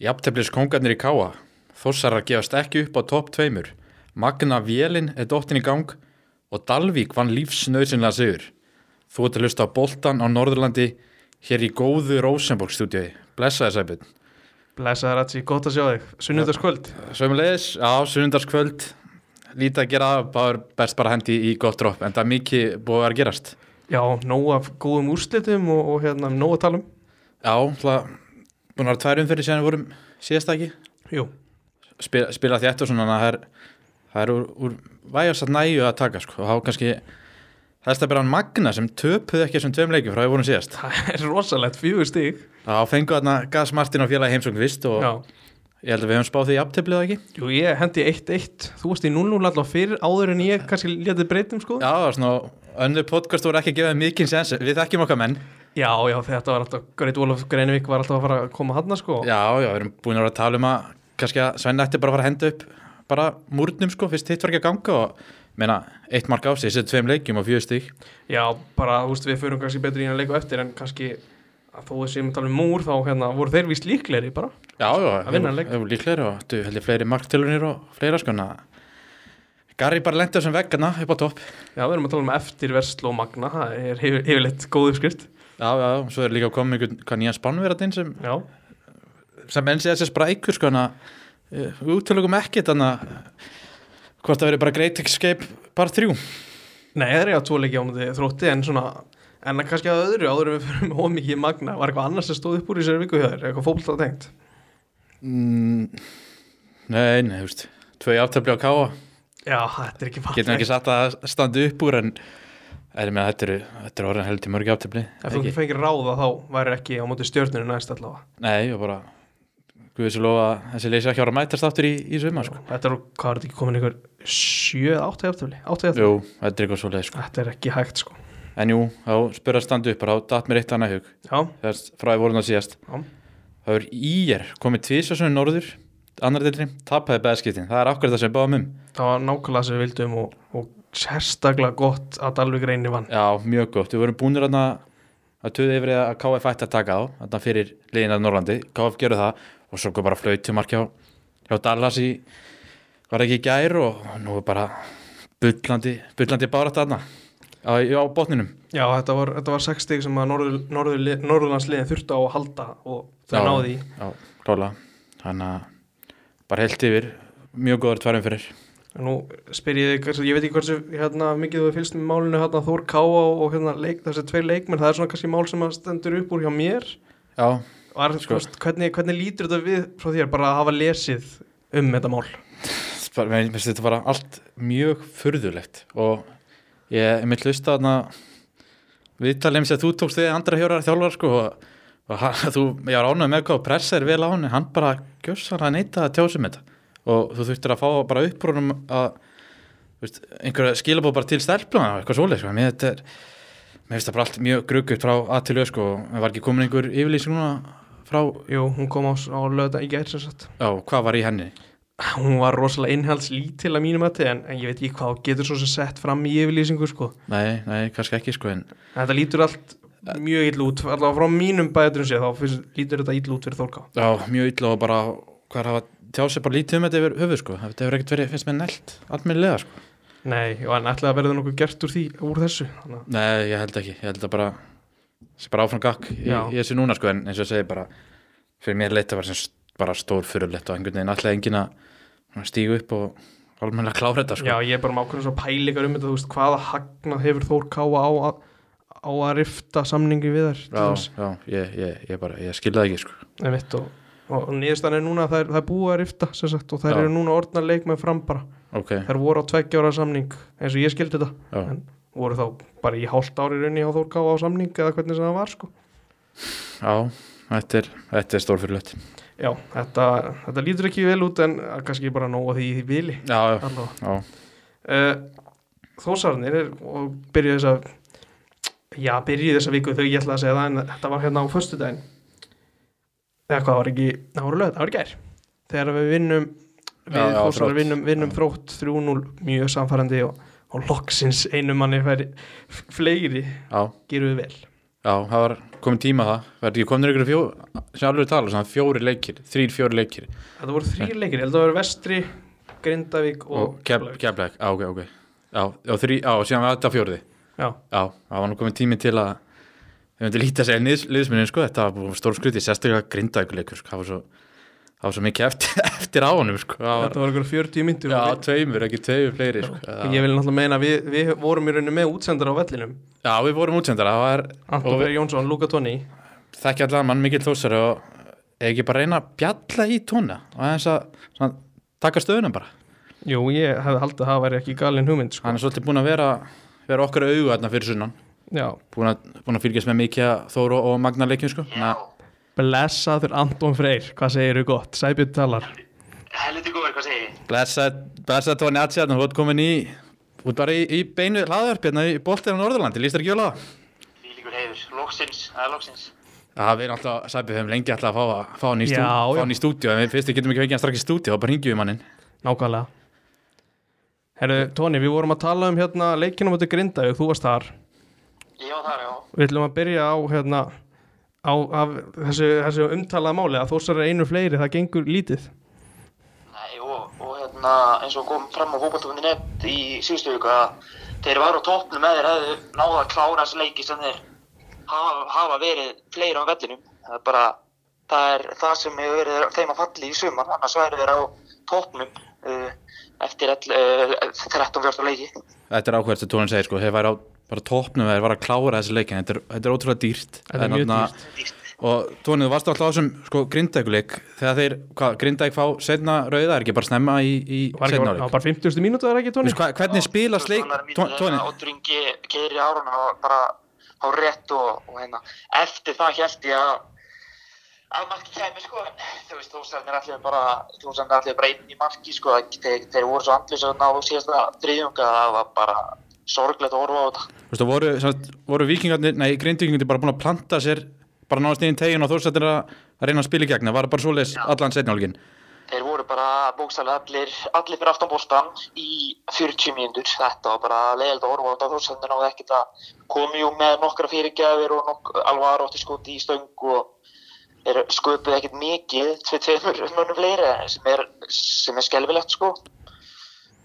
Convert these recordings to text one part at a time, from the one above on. Jafnteflis kongarnir í káa. Þossarar gefast ekki upp á topp tveimur. Magna Vélin er dóttin í gang og Dalvík vann lífsnauðsynlega sigur. Þú ert að hlusta á boltan á Norðurlandi hér í góðu Rosenborg stúdíu. Blessa þess aðbyrn. Blessaður Ratsi, gott að sjá þig Sunnundarskvöld Sveimilegis, á sunnundarskvöld lítið að gera, bara best bara hendi í gott dropp, en það er mikið búið að vera að gerast. Já, nóg af góðum úrslitum og, og hérna, nóg að tala um Já, hlað, búin að vera tvær umferði sem við vorum síðast ekki. Jú, spila, spila þétt og svona þannig að það er, það er úr, úr vægast að næju að taka sko. og þá kannski þess að bera hann Magna sem töpuð ekki þessum tveim leikjum frá við vorum síðast það er rosalegt fjögur stig þá fengu þarna Gas Martin og félagi heimsókn vist og Já, ég held að við höfum spáð því jafntöflið ekki jú, ég hendi 1-1 Þú varst í 0-0 alltaf fyrir áður en ég kannski letið breytum sko já, það var svona, önnur podcast voru ekki að gefa þeim mikinn sens við þekkjum okkar menn já, já, þetta var alltaf Greit Ólaf Greinvík var alltaf að fara að koma hann sko já, já, við erum búin að vera að tala um að kannski að Svenna ætti bara að fara að henda upp bara múrnum sko, fyrst hitt var ekki að ganga og meina, eitt mark á sig, þessi tveim leikjum og fjögur stík Já, bara, þú veist, við förum kannski betur í hann leiku eftir en kannski að þó þessi um tala um múr þá hérna, voru þeir víst líklegri bara Já, já, Að vinna hann leik. hefur líklegri og þú heldur fleiri marktilunir og fleira sko en að Garri bara lendi þessum veggana hérna upp á topp Já, við erum að tala um eftirversl og magna það er yfir- yfirleitt góð uppskrift Já, já, og svo er líka komið einhvern hvað nýjan spannverðin sem, Já, sem menn sé þessi sprækur sko en að eh, við útlökum ekkit en að hvort það verið bara Great Escape par 3 Nei, það er ég að tvo leikja á móti þrótti en svona en kannski að öðru áður en við fyrir með ómikið magna var eitthvað annars sem stóð upp úr í sér viku hjá þér eitthvað fókbalta tengt mm, Nei, nei, þú veist Tvö aftabli á káa, Já, þetta er ekki fallegt getum ekki satt að standa upp úr en er með að þetta eru, þetta eru orðin heldur mörg aftabli Ef þú ekki fengir ráða þá væri ekki á móti stjörnunni næst allavega Nei, og bara Guðis og lofa að þessi leysi ekki ára að mætast aftur í, í sumar sko. Þetta er, hvað er þetta ekki komin ykkur 7 eða 8 jafntöfli? 8 jafntöfli? Jú, þetta er eitthvað svo leið sko. Þetta er ekki hægt sko En jú, þá spurði að standa upp og þá datt mér eitt annað í hug Já, Þegar frá ég voru það síðast já, Það er ír, komið tvísasunni norður annar deildri, tapaði beðskiptin það er akkur það sem báðum um það var nákvæmlega sem við vildum og, og sérstaklega gott að Dalvik reyni vann Já, mjög gott, við vorum búinir að að töðu yfir að KF ætti að taka á þarna fyrir liðin að Norrlandi, KF gerðu það og svo kom bara flautumark hjá, hjá Dallas í, var ekki í gær og nú er bara bullandi, bullandi bara þarna á, á botninum Já, þetta var, þetta var 6 stig sem að norður, norður, Norðurlandsliðin þurftu á að halda og það Já. náði í Já, klála Þannig að bara heilt yfir Mjög góður tværum fyrir En Nú spyr ég þig, hversu- ég veit ekki hversu hérna, mikið þú fylgst með málinu hérna, Þór Káa og hérna, leik, þessi tveir leikmenn, það er svona kannski mál sem að stendur upp úr hjá mér Já, Var, Sko. sko. hvernig, hvernig lítur þetta við frá þér bara að hafa lesið um þetta mál bara- mér mér finnst þetta bara allt mjög furðulegt og ég er mitt hlusta þarna viðtalið um sem þú tókst þig andra hjórar þjálfar sko og, og hann, þú, ég var ánægð með hvað pressa er vel á hann en hann bara gjössar að neita að tjása um þetta og þú þurftir að fá bara upprúnum að þú veist, einhverja skilabóð bara til stelplana og eitthvað svoleið sko. mér þetta er mér finnst það bara allt mjög grugguð frá að til öð sko og var ekki komin einhver yfirlýsing núna frá, Jú, hún kom á, s- á löða í gær sem sagt já, hvað var í henni Hún var rosalega innhaldslítil að mínum að en, en ég veit ekki hvað hún getur svo sem sett fram í yfirlýsingu sko nei, nei, kannski ekki sko en En Þetta lítur allt mjög ill út allavega frá mínum bæðurum sér þá finnst, lítur þetta ill út fyrir Þór Káa Já, mjög illa og bara hvað er að tjá sig bara lítið um þetta yfir höfuð sko þetta hefur ekkert verið, finnst mér nelt, almennilega sko Nei, og en ætlaði að verða nokkuð gert úr því úr þessu þannig. að- Nei, ég held ekki, ég held að bara sé bara áfram gakk í, Já. í þessu núna sko en eins og ég segi bara fyrir mér leitt að vera sem st- bara stór fyrirlegt og einhvern veginn alltaf engin að stígu upp og almennilega klára þetta sko Já, ég er bara með ákveðin svo pælingar um þetta þú veist, hvaða hagnað hefur Þór Káa á að á að rifta samningi við þær til já, þess. já, ég, ég, ég bara, ég skilði það ekki sko Einmitt, og, og niðurstaðan er núna að það er, það er búið að rifta sem sagt, og þær Já. eru núna orðna leik með fram bara Ok, þær voru á tveggja ára samning eins og ég skildi þetta já, En- voru þá bara í hálft ári raunni á Þór Káa á samning eða hvernig sem það var sko já þetta er, þetta er stór fyrirlegt Já, þetta, þetta lítur ekki vel út en að kannski bara nóga því í vili Já, já, allavega já, uh, Þósarnir er, og byrjuði þess að já, byrjuði þess að viku þau ég ætla að segja það en þetta var hérna á föstudaginn eða hvað það var ekki það var lögð, það var í gær þegar við vinnum við Já, já, Þósarar Þrótt. vinnum, vinnum Já. þrótt 3-0 mjög samfærandi og, og loksins einu manni færi fleiri já gerum við vel Já, það var komin tíma það Verði ekki komin ykkur fjó sem alveg tala, svona fjóri leikir, þrír fjóri leikir og, Þetta voru þrýr leikir, ég held að það voru Vestri, Grindavík og, og kef, Keflavík. kefleik, á, ok, ok Já, já, þrý, já, og síðan var þetta fjóriði Já, Já, það var nú komin tími til að við myndum lítið að segja liðsminni sko, þetta var búin stór skrítið, sérstaklega grindaðikuleikur sko, það var svo, það var svo mikið eftir, eftir á honum sko, það var, þetta voru ykkur 40 myndir já, tveimur, ekki tveimur fleiri sko, og ég vil náttúrulega meina að við, við vorum í rauninu með útsendara á vellinum já, við vorum útsendara, það var Anton Freyr Jónsson, Luka Tóni þekki allan mann mikill þósari og eða ekki bara reyna að bjalla í tóna og aðeins að svona, taka stöðunum bara, Jú, ég hefði haldið að það væri ekki galin hugmynd sko. hann er svolítið búin að vera vera okkar augu þarna fyrir sunnan Já, búin að, búin að fylgjast með mikið Þóru og Magna leikjum sko, Ná, blessaður Anton Freyr hvað segirðu gott, Sæbjörn talar Helviti góður, hvað segir ég? Blessað, blessað Tóni Atsi hérna, þú ert komin í út bara í, í beinu hlaðverf hérna í boltið á Norðurlandi, líst þér ekki vel á það? Lílíkur heiður, loksins, aða loksins. Já, við erum alltaf, sæpið höfum lengi alltaf að fá, að- fá hann í, stú, Já, já. fá hann í stúdíu, en við fyrst við getum ekki vekið hann strax í stúdíu, þá bara ringjum við mannin. Nákvæmlega Herru, Tóni, við vorum að tala um hérna leikinu á móti Grindavík, þú varst þar Ég var þar, já. Við ætlum að byrja á hérna á, af þessu, þessu umtalaða máli að þósar er einu fleiri, það gengur lítið Nei, og, og hérna, eins og kom fram á fókbaltofunni.net í síðustu viku að þeir varu á toppnum með þeir hefðu náða að klára þessi leiki sem þeir hafa, hafa verið fleiri á vellinum. Það er bara, það er það sem hefur verið þeim að falli í sumar, annars væri þeir á toppnum uh, eftir ell- uh, 13-14 leiki. Þetta er áhverjast að Tóni segir, sko, þeir væri á bara topnum eða þeir væri að klára þessi leikin, þetta er, þetta er ótrúlega dýrt. Þetta er En mjög þarna- dýrt. Dýrt. Og Tóni, þú varst alltaf á þessum, sko, grindækuleik, þegar þeir, hvað, grindæk fá setna rauða, er ekki bara snemma í, í Var ekki, setna var, leik? bara 50. mínútu er ekki, Tóni? Veist hvað- Hvernig spilast leik, Tó- Tóni, Óttur Ingi eh, keiri árun og bara á rétt og, og hérna. Eftir það held ég að að marki kæmi sko en þú veist þósarnir allir bara þósarnir allir bara einn í marki sko þeir, þeir voru svo andlisa á síðasta þriðjunga það var bara sorglegt að horfa á þetta Þú veist, og voru, samt, voru vikingarnir, nei, grindvikingarnir bara búin að planta sér bara náðast inn í tegin og þórsættir að að reyna að spila í gegna, var bara svoleiðis allan setnálgin. þeir voru bara bóksalega allir allir fyrir aftan bóltan í 40 mínútur þetta var bara leiðilegt að horfa á þetta þósarnir náðu ekkert að komi jú með nokkra fyrirgjafir og nok alvar átti skoti í stöng og er sköpuð ekkert mikið tveir tveimur mönnum fleiri sem er, sem er skelfilegt sko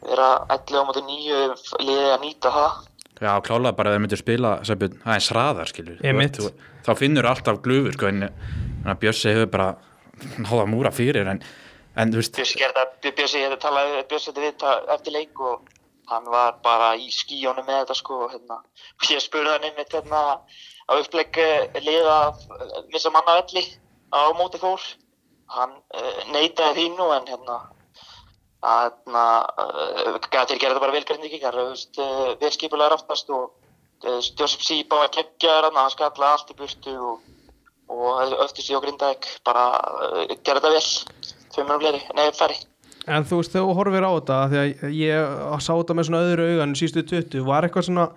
vera 11 á móti nýju liðið að nýta það Já, klálega bara að þeir myndu spila sæbjörn, aðeins hraðar, skilur. Þú Einmitt. veist, þú- Þá finnur alltaf glufur, sko, en, en að Bjössi hefur bara náða að múra fyrir, en, en þú veist, Bjössi gerði það, Bjössi ég talaði, Bjössi þetta við það eftir leik og hann var bara í skíjónu með þetta sko og hérna. Og Ég spurði hann einmitt hérna á upplegg eh, liða eh, missa manna velli á móti þór. Hann uh, neytaði því nú en hérna að hérna, uh, þeir gerði það bara velgrindíkingar, þú veist, uh, við skipulega aftast og uh, Joseph Sýbá að keggja hann, hann skallaði allt í burtu og, og öftu sig og grindaði bara uh, gerði það vel, tveim mjög fleiri, nei, færri. En þú veist, þegar þú horfir á þetta af því að ég sá þetta með svona öðru augan sístu 20, var eitthvað svona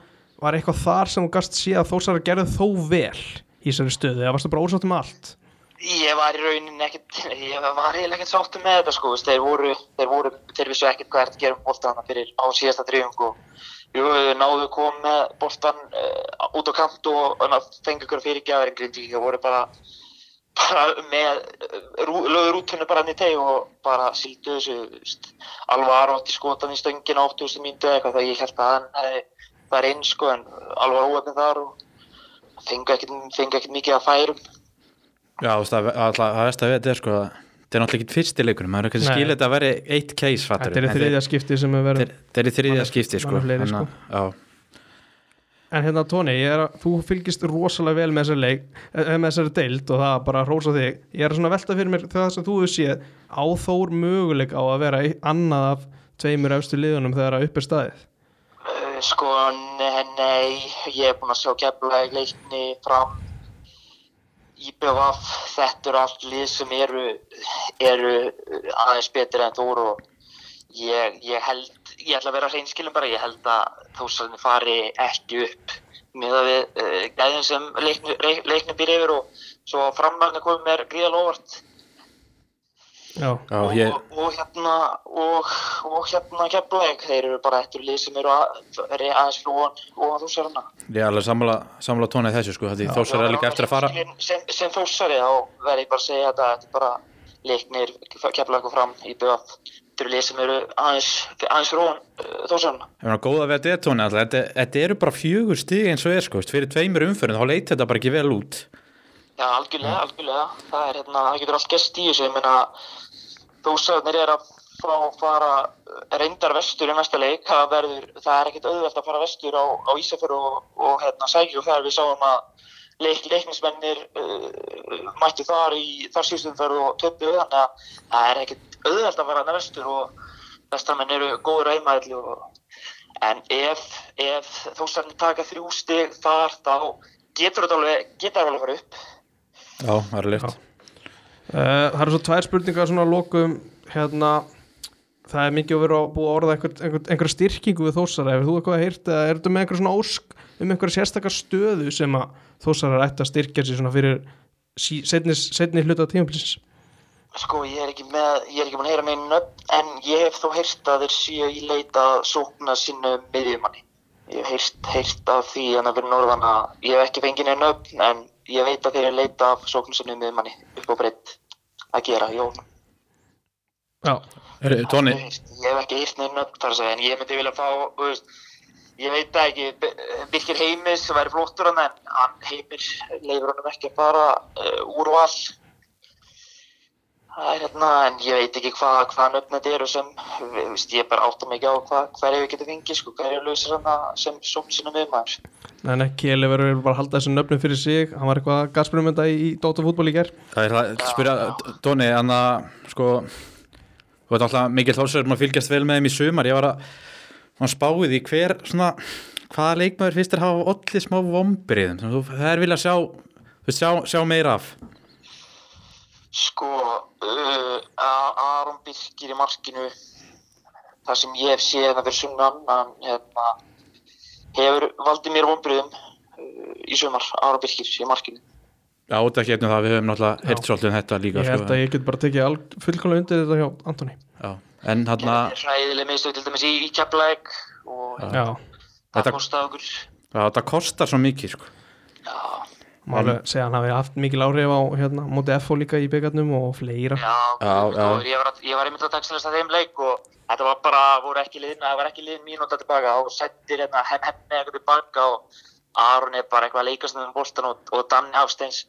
var eitthvað þar sem þú gast sé að þósar gerði þó vel í þessari stöðu eða varstu bara ósátt um allt Ég var í rauninni ekkert, ég var eiginlega ekkert sáttu með þetta sko, veist, þeir voru, þeir voru, þeir vissu ekkert hvað er að gera um boltana fyrir á síðasta drífung og jú, þau náðu kom með boltan uh, út á kant og uh, fengi ykkur fyrirgjafir en grindi ekki, voru bara, bara með, eh, rú, lögðu rútunni bara hann í teg og bara síldu þessu, veist, Alvar átti skotan í stöngin á 8000 mínútu eða eitthvað, það ég held að hann hefði, það er eins sko, en Alvar óöfnið þar og fengu ekkert, fengu ekkert mikið að færum. já, þú veist, það alltaf- það veist að þetta er, sko, að þetta er náttúrulega ekki fyrsti leikunum, maður er kannski Nei. skil þetta að veri eitt case, fattur. Þetta er í þriðja skipti sem við verðum Þetta er í Man þriðja er- skipti, sko. man er fleiri, þannig sko. að- Já. En hérna Tóni, ég er, að- þú fylgist rosalega vel með þessari leik, eh, með þessari deild og það er bara að rósa þig. Ég er svona að velta fyrir mér það sem þú hefur séð á þór möguleik á að vera í- annað af tveimur efstu liðunum þegar að upp er staðið. Eh, Sko, ne- nei, ég er búinn að sjá keflaði leikni fram IBVF, þetta eru allt lið sem eru, eru aðeins betur en Þór og ég, ég held, ég ætla að vera hreinskilin bara, ég held að Þórsarni fari ekki upp með að við uh, gæðin sem leikni, leikni býr yfir og svo framvarni komið mér gríðal óvart. já, Já, og, ég, og, og hérna og, og hérna Keflæk þeir eru bara eittur lið sem eru að, eru aðeins fyrir ofan, ofan þúsarana ég er alveg sammála, sammála tónið þessu sko, því þósar er líka eftir að fara sem, sem, sem þúsari þá verð ég bara að segja þetta þetta er bara leiknir Keflæk og fram í BF þeir eru lið sem eru aðeins aðeins fyrir ofan þúsarana Ég meina, góða við að detóni alltaf, þetta, þetta eru bara fjögur stig eins og er sko, veist, fyrir tveimur umfyrin, þá leit þetta bara ekki vel út. Já, algjörlega, algjörlega. Það er hérna, það getur allt gest í þessu, ég meina, þúsarnir er að fá fara eh, reyndar vestur í næsta leik, það verður, það er ekkert auðvelt að fara vestur á, á Ísafjörðu og, og hérna sækju og þar við sáum að leik, leiknismennir uh, mættu þar í þar síðustumferð og töppu við þannig að það er ekkert auðvelt að fara hérna vestur og vestarmenn eru góður reymaðli og en ef, ef þúsarnir taka þrjú stig þar þá getur þetta alveg, getur alveg að fara upp Já, það er leitt. Uh, það eru svo tvær spurningar svona að lokum hérna það er mikið að vera að búa að orða einhver, einhver, einhver styrkingu við þósara hefur þú eitthvað heyrt eða er þetta með einhver svona ósk um einhverja sérstakar stöðu sem að þósara ætti að styrkja sér svona fyrir sí, setni, setni hluta tímaplins Sko, ég er ekki með, ég er ekki búin að heyra með nöfn, en ég hef þó heyrt að þeir séu í leita að sókna sinnu miðjumanni. Ég hef heyrt, heyrt af því en að vera norðan að ég hef ekki fengið neina nöfn, en ég veit að þeir eru í leita að sókna sinnu miðjumanni upp á breytt að gera, jón. já, Heyrðu, Tóni, Ég hef heyrt- ég hef ekki heyrt neina nöfn þar að segja, en ég myndi vilja fá, þú veist, ég veit það ekki, B- Birkir Heimis væri flottur hann, en hann Heimis leifur honum ekki að fara uh, úr vall. Það er hérna, en ég veit ekki hvað hva nöfn þetta eru sem, við- veist, ég bara átta mig ekki á hvað, hverju við getum fengið, sko, hverju lausir hana sem sókn sinna miðmaður. en ekki Keli verður bara að halda þessum nöfnum fyrir sig hann var eitthvað að gaspurum þetta í, í Dóta fútból í ger það er það, spyrja, Tóni, en að, sko, þú veit alltaf, mikil þósar er maður að fylgjast vel með þeim í sumar, ég var að, maður spáði því hver, svona, hvaða leikmaður finnst þér hafa allir smá vombriðum, sem þú, það er vilja sjá, þú veist, sjá, sjá meira af. Sko, uh, A- Aron Birkir í markinu, það sem ég hef séð hérna fyrir sunnan, hann hérna, hefur valdið mér vonbröðum uh, í sumar, Aron Birkir í markinu. Já, út ekki efnum það, við höfum náttúrulega heyrt svolítið um þetta líka, ég held að ég get bara tekið al, fullkomlega undir þetta hjá Antoni Já, en hann Það er ræðileg meðstöð til dæmis í, í Keflæk og Já. já, Þetta- það kostaði okkur. það kostar svo mikið, sko. Já, málega segja hann hafi haft mikil áhrif á hérna, móti FH líka í byggarnum og fleira já, Já, já. já. Ég, var, að- ég var einmitt að textilista þeim leik og þetta var bara, voru ekki liðin, það var ekki liðin mínúta tilbaka og settir hérna hemm hemmi eitthvað tilbaka og Aron er bara eitthvað að leikast með bóltan og, og Danni Hafsteins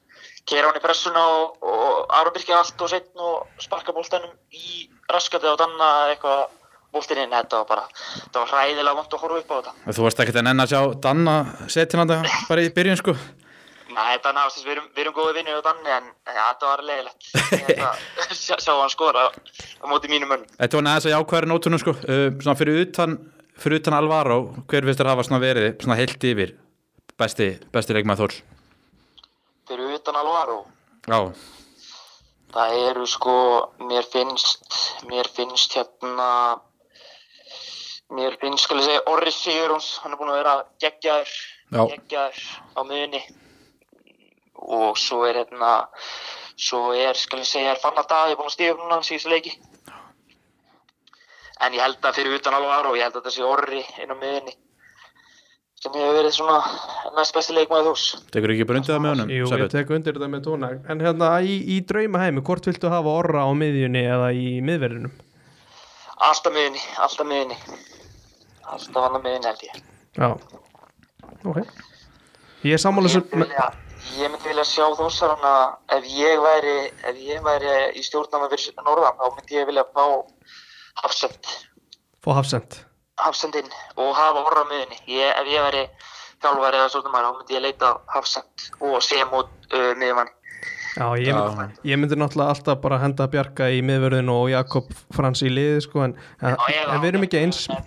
kera hann í pressuna og, og Aron byrkja allt og setn og sparka bóltanum í raskatið og Danna eitthvað bóltin inn, þetta var bara, þetta var hræðilega vant að horfa upp á þetta. Þú varst ekkert að nenn að sjá Danna setjana bara í byrjun sko Nei, Danni Hafsteins, við erum, við erum góði vinnir á Danni en ja, þetta var leiðilegt, Þetta- sjá sjá hann skora á móti mínum mönnum. Þetta var neðast að jákvæðari nótunum sko uh, svona fyrir utan, fyrir utan Alvaro hver finnst þér hafa svona verið svona heilt yfir besti, besti leikmaður Þórs Fyrir utan Alvaro. Já, Það eru sko, mér finnst, mér finnst hérna, mér finnst, skal ég segja, Orri Sigurjóns, hann er búinn að vera geggjaður, Já. geggjaður á miðunni og svo er hérna, svo er, skal ég segja, er fann að dag, ég er búinn að stíða upp núna síðustu leiki. En ég held að fyrir utan alveg aðra og ég held að þetta sé Orri inn á miðunni sem hefur verið svona næst besti leikmaður þús. tekur ekki bara undir það með honum Jú, ég Sæbjörn? tek undir þetta með tóna En hérna, í, í draumaheimi, hvort viltu hafa orra á miðjunni eða í miðverðinum? Alltaf miðinni, alltaf miðinni. Alltaf annað miðinni held ég. Já Ok Ég er sammála Ég myndi sem vilja, ég myndi vilja sjá þósarana ef ég væri, ef ég væri í stjórnama fyrir norðan, þá myndi ég vilja fá hafsend, Fá hafsend hafsendinn og hafa orra á miðinni. Ég, ef ég væri þjálfari eða stjórnama, þá myndi ég leita að hafsend og sé mút uh, miðjumann. Já, ég, Já. ég myndi náttúrulega alltaf bara henda Bjarka í miðverðinu og Jakob Frans í liði sko, en, en, Já, ég- en við erum ekki eins Já,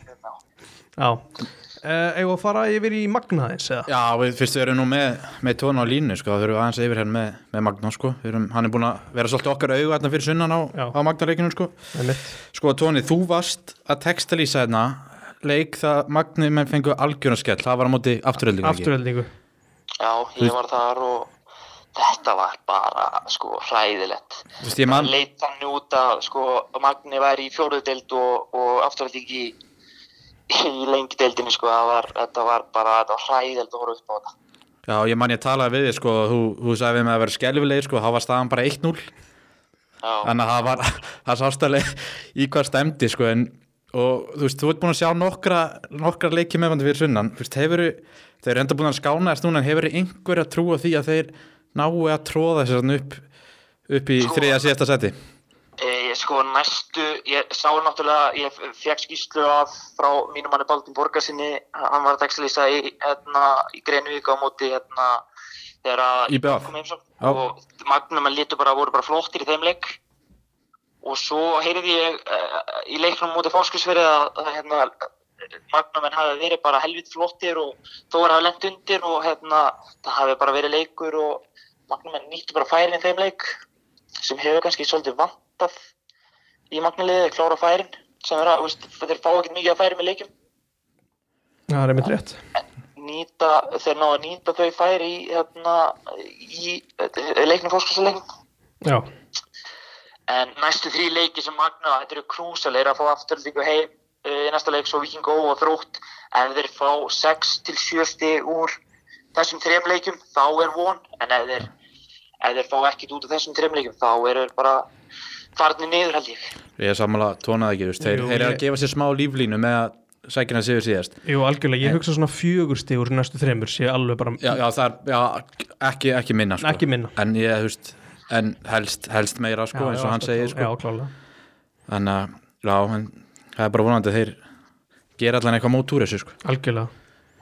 Já. uh, eigum við að fara yfir í Magnaðins eða? Já, við fyrst við erum nú með, með tóna á línu sko, það þurfum við aðeins yfir hérna með, með Magnó sko, Við erum, hann er búin að vera svolítið okkar auga hérna fyrir sunnan á, Já. á Magnaleikinu sko Einmitt. Sko Tóni, þú varst að textalýsa hérna leik það Magni menn fengu algjörnarskell, það var á móti afturöldingu Afturöldingu Já, ég var þar og þetta var bara sko hræðilegt Þú veist, ég Man... man, leit þannig út að sko Magni væri í fjóruðdeild og, og afturhalding í, í lengdeildinni sko það var, þetta var bara þetta var hræðilegt að horfa upp á þetta já, ég man ég talaði við þig, sko, þú, þú sagði við mig að vera skelfilegir, sko, þá var staðan bara 1-0 Já, þannig að það var það sást alveg í hvað stemdi sko, en, og þú veist, þú ert búin að sjá nokkra, nokkra leiki meðvandi fyrir sunnan þú veist, hefur, þeir eru enda búin að skána þess núna, en hefur einhver að trúa því að þeir nái að tróða þess að upp upp í Tróða. þriðja síðasta seti e, ég sko næstu ég sá náttúrulega, ég fekk skýslu af frá mínum manni Baldin Borgarsinni hann var að textilýsa í, hérna, í Greinvík á móti hérna, þegar að IBF. kom heimsókn Já. og Magnum að litu bara voru bara flóttir í þeim leik og svo heyrði ég uh, í leiknum mútið fórskursverið að, að hérna, Magnumenn hafi verið bara helvit flottir og Þóra hafi lent undir og hérna, það hafi bara verið leikur og Magnumenn nýttu bara færin í þeim leik sem hefur kannski svolítið vantað í Magnuliðið, klára færin sem er að, þú veist, þeir fá ekkert mikið að færi með leikum það er einmitt rétt nýta, þeir ná að nýta þau færi í, hérna, í eh, leiknum fórskursverið já, En næstu þrý leiki sem Magna, þetta eru krúsalegir að fá afturlíku heim eh, í næsta leik svo Viking Ó og Þrótt. Ef þeir fá 6 til 7 stig úr þessum þrejum leikum þá er von. En ef þeir, ef þeir fá ekkit út af þessum þrejum leikum þá eru þeir bara farnir niður held ég. ég er sammála tónað ekki, þú veist, þeir, Jú, þeir eru ég- að gefa sér smá líflínu með að sækina sigur síðast jú algjörlega, ég hugsa svona fjögur stigur næstu þreymur sé alveg bara já, já, það er, já, ekki, ekki minna sko. Ekki minna. en ég, þú veist, en helst, helst meira, sko, eins og hann segir sko. já, klálega þannig að, já, en það er bara vonandi að þeir gera allan eitthvað mót úr þessu, sko algjörlega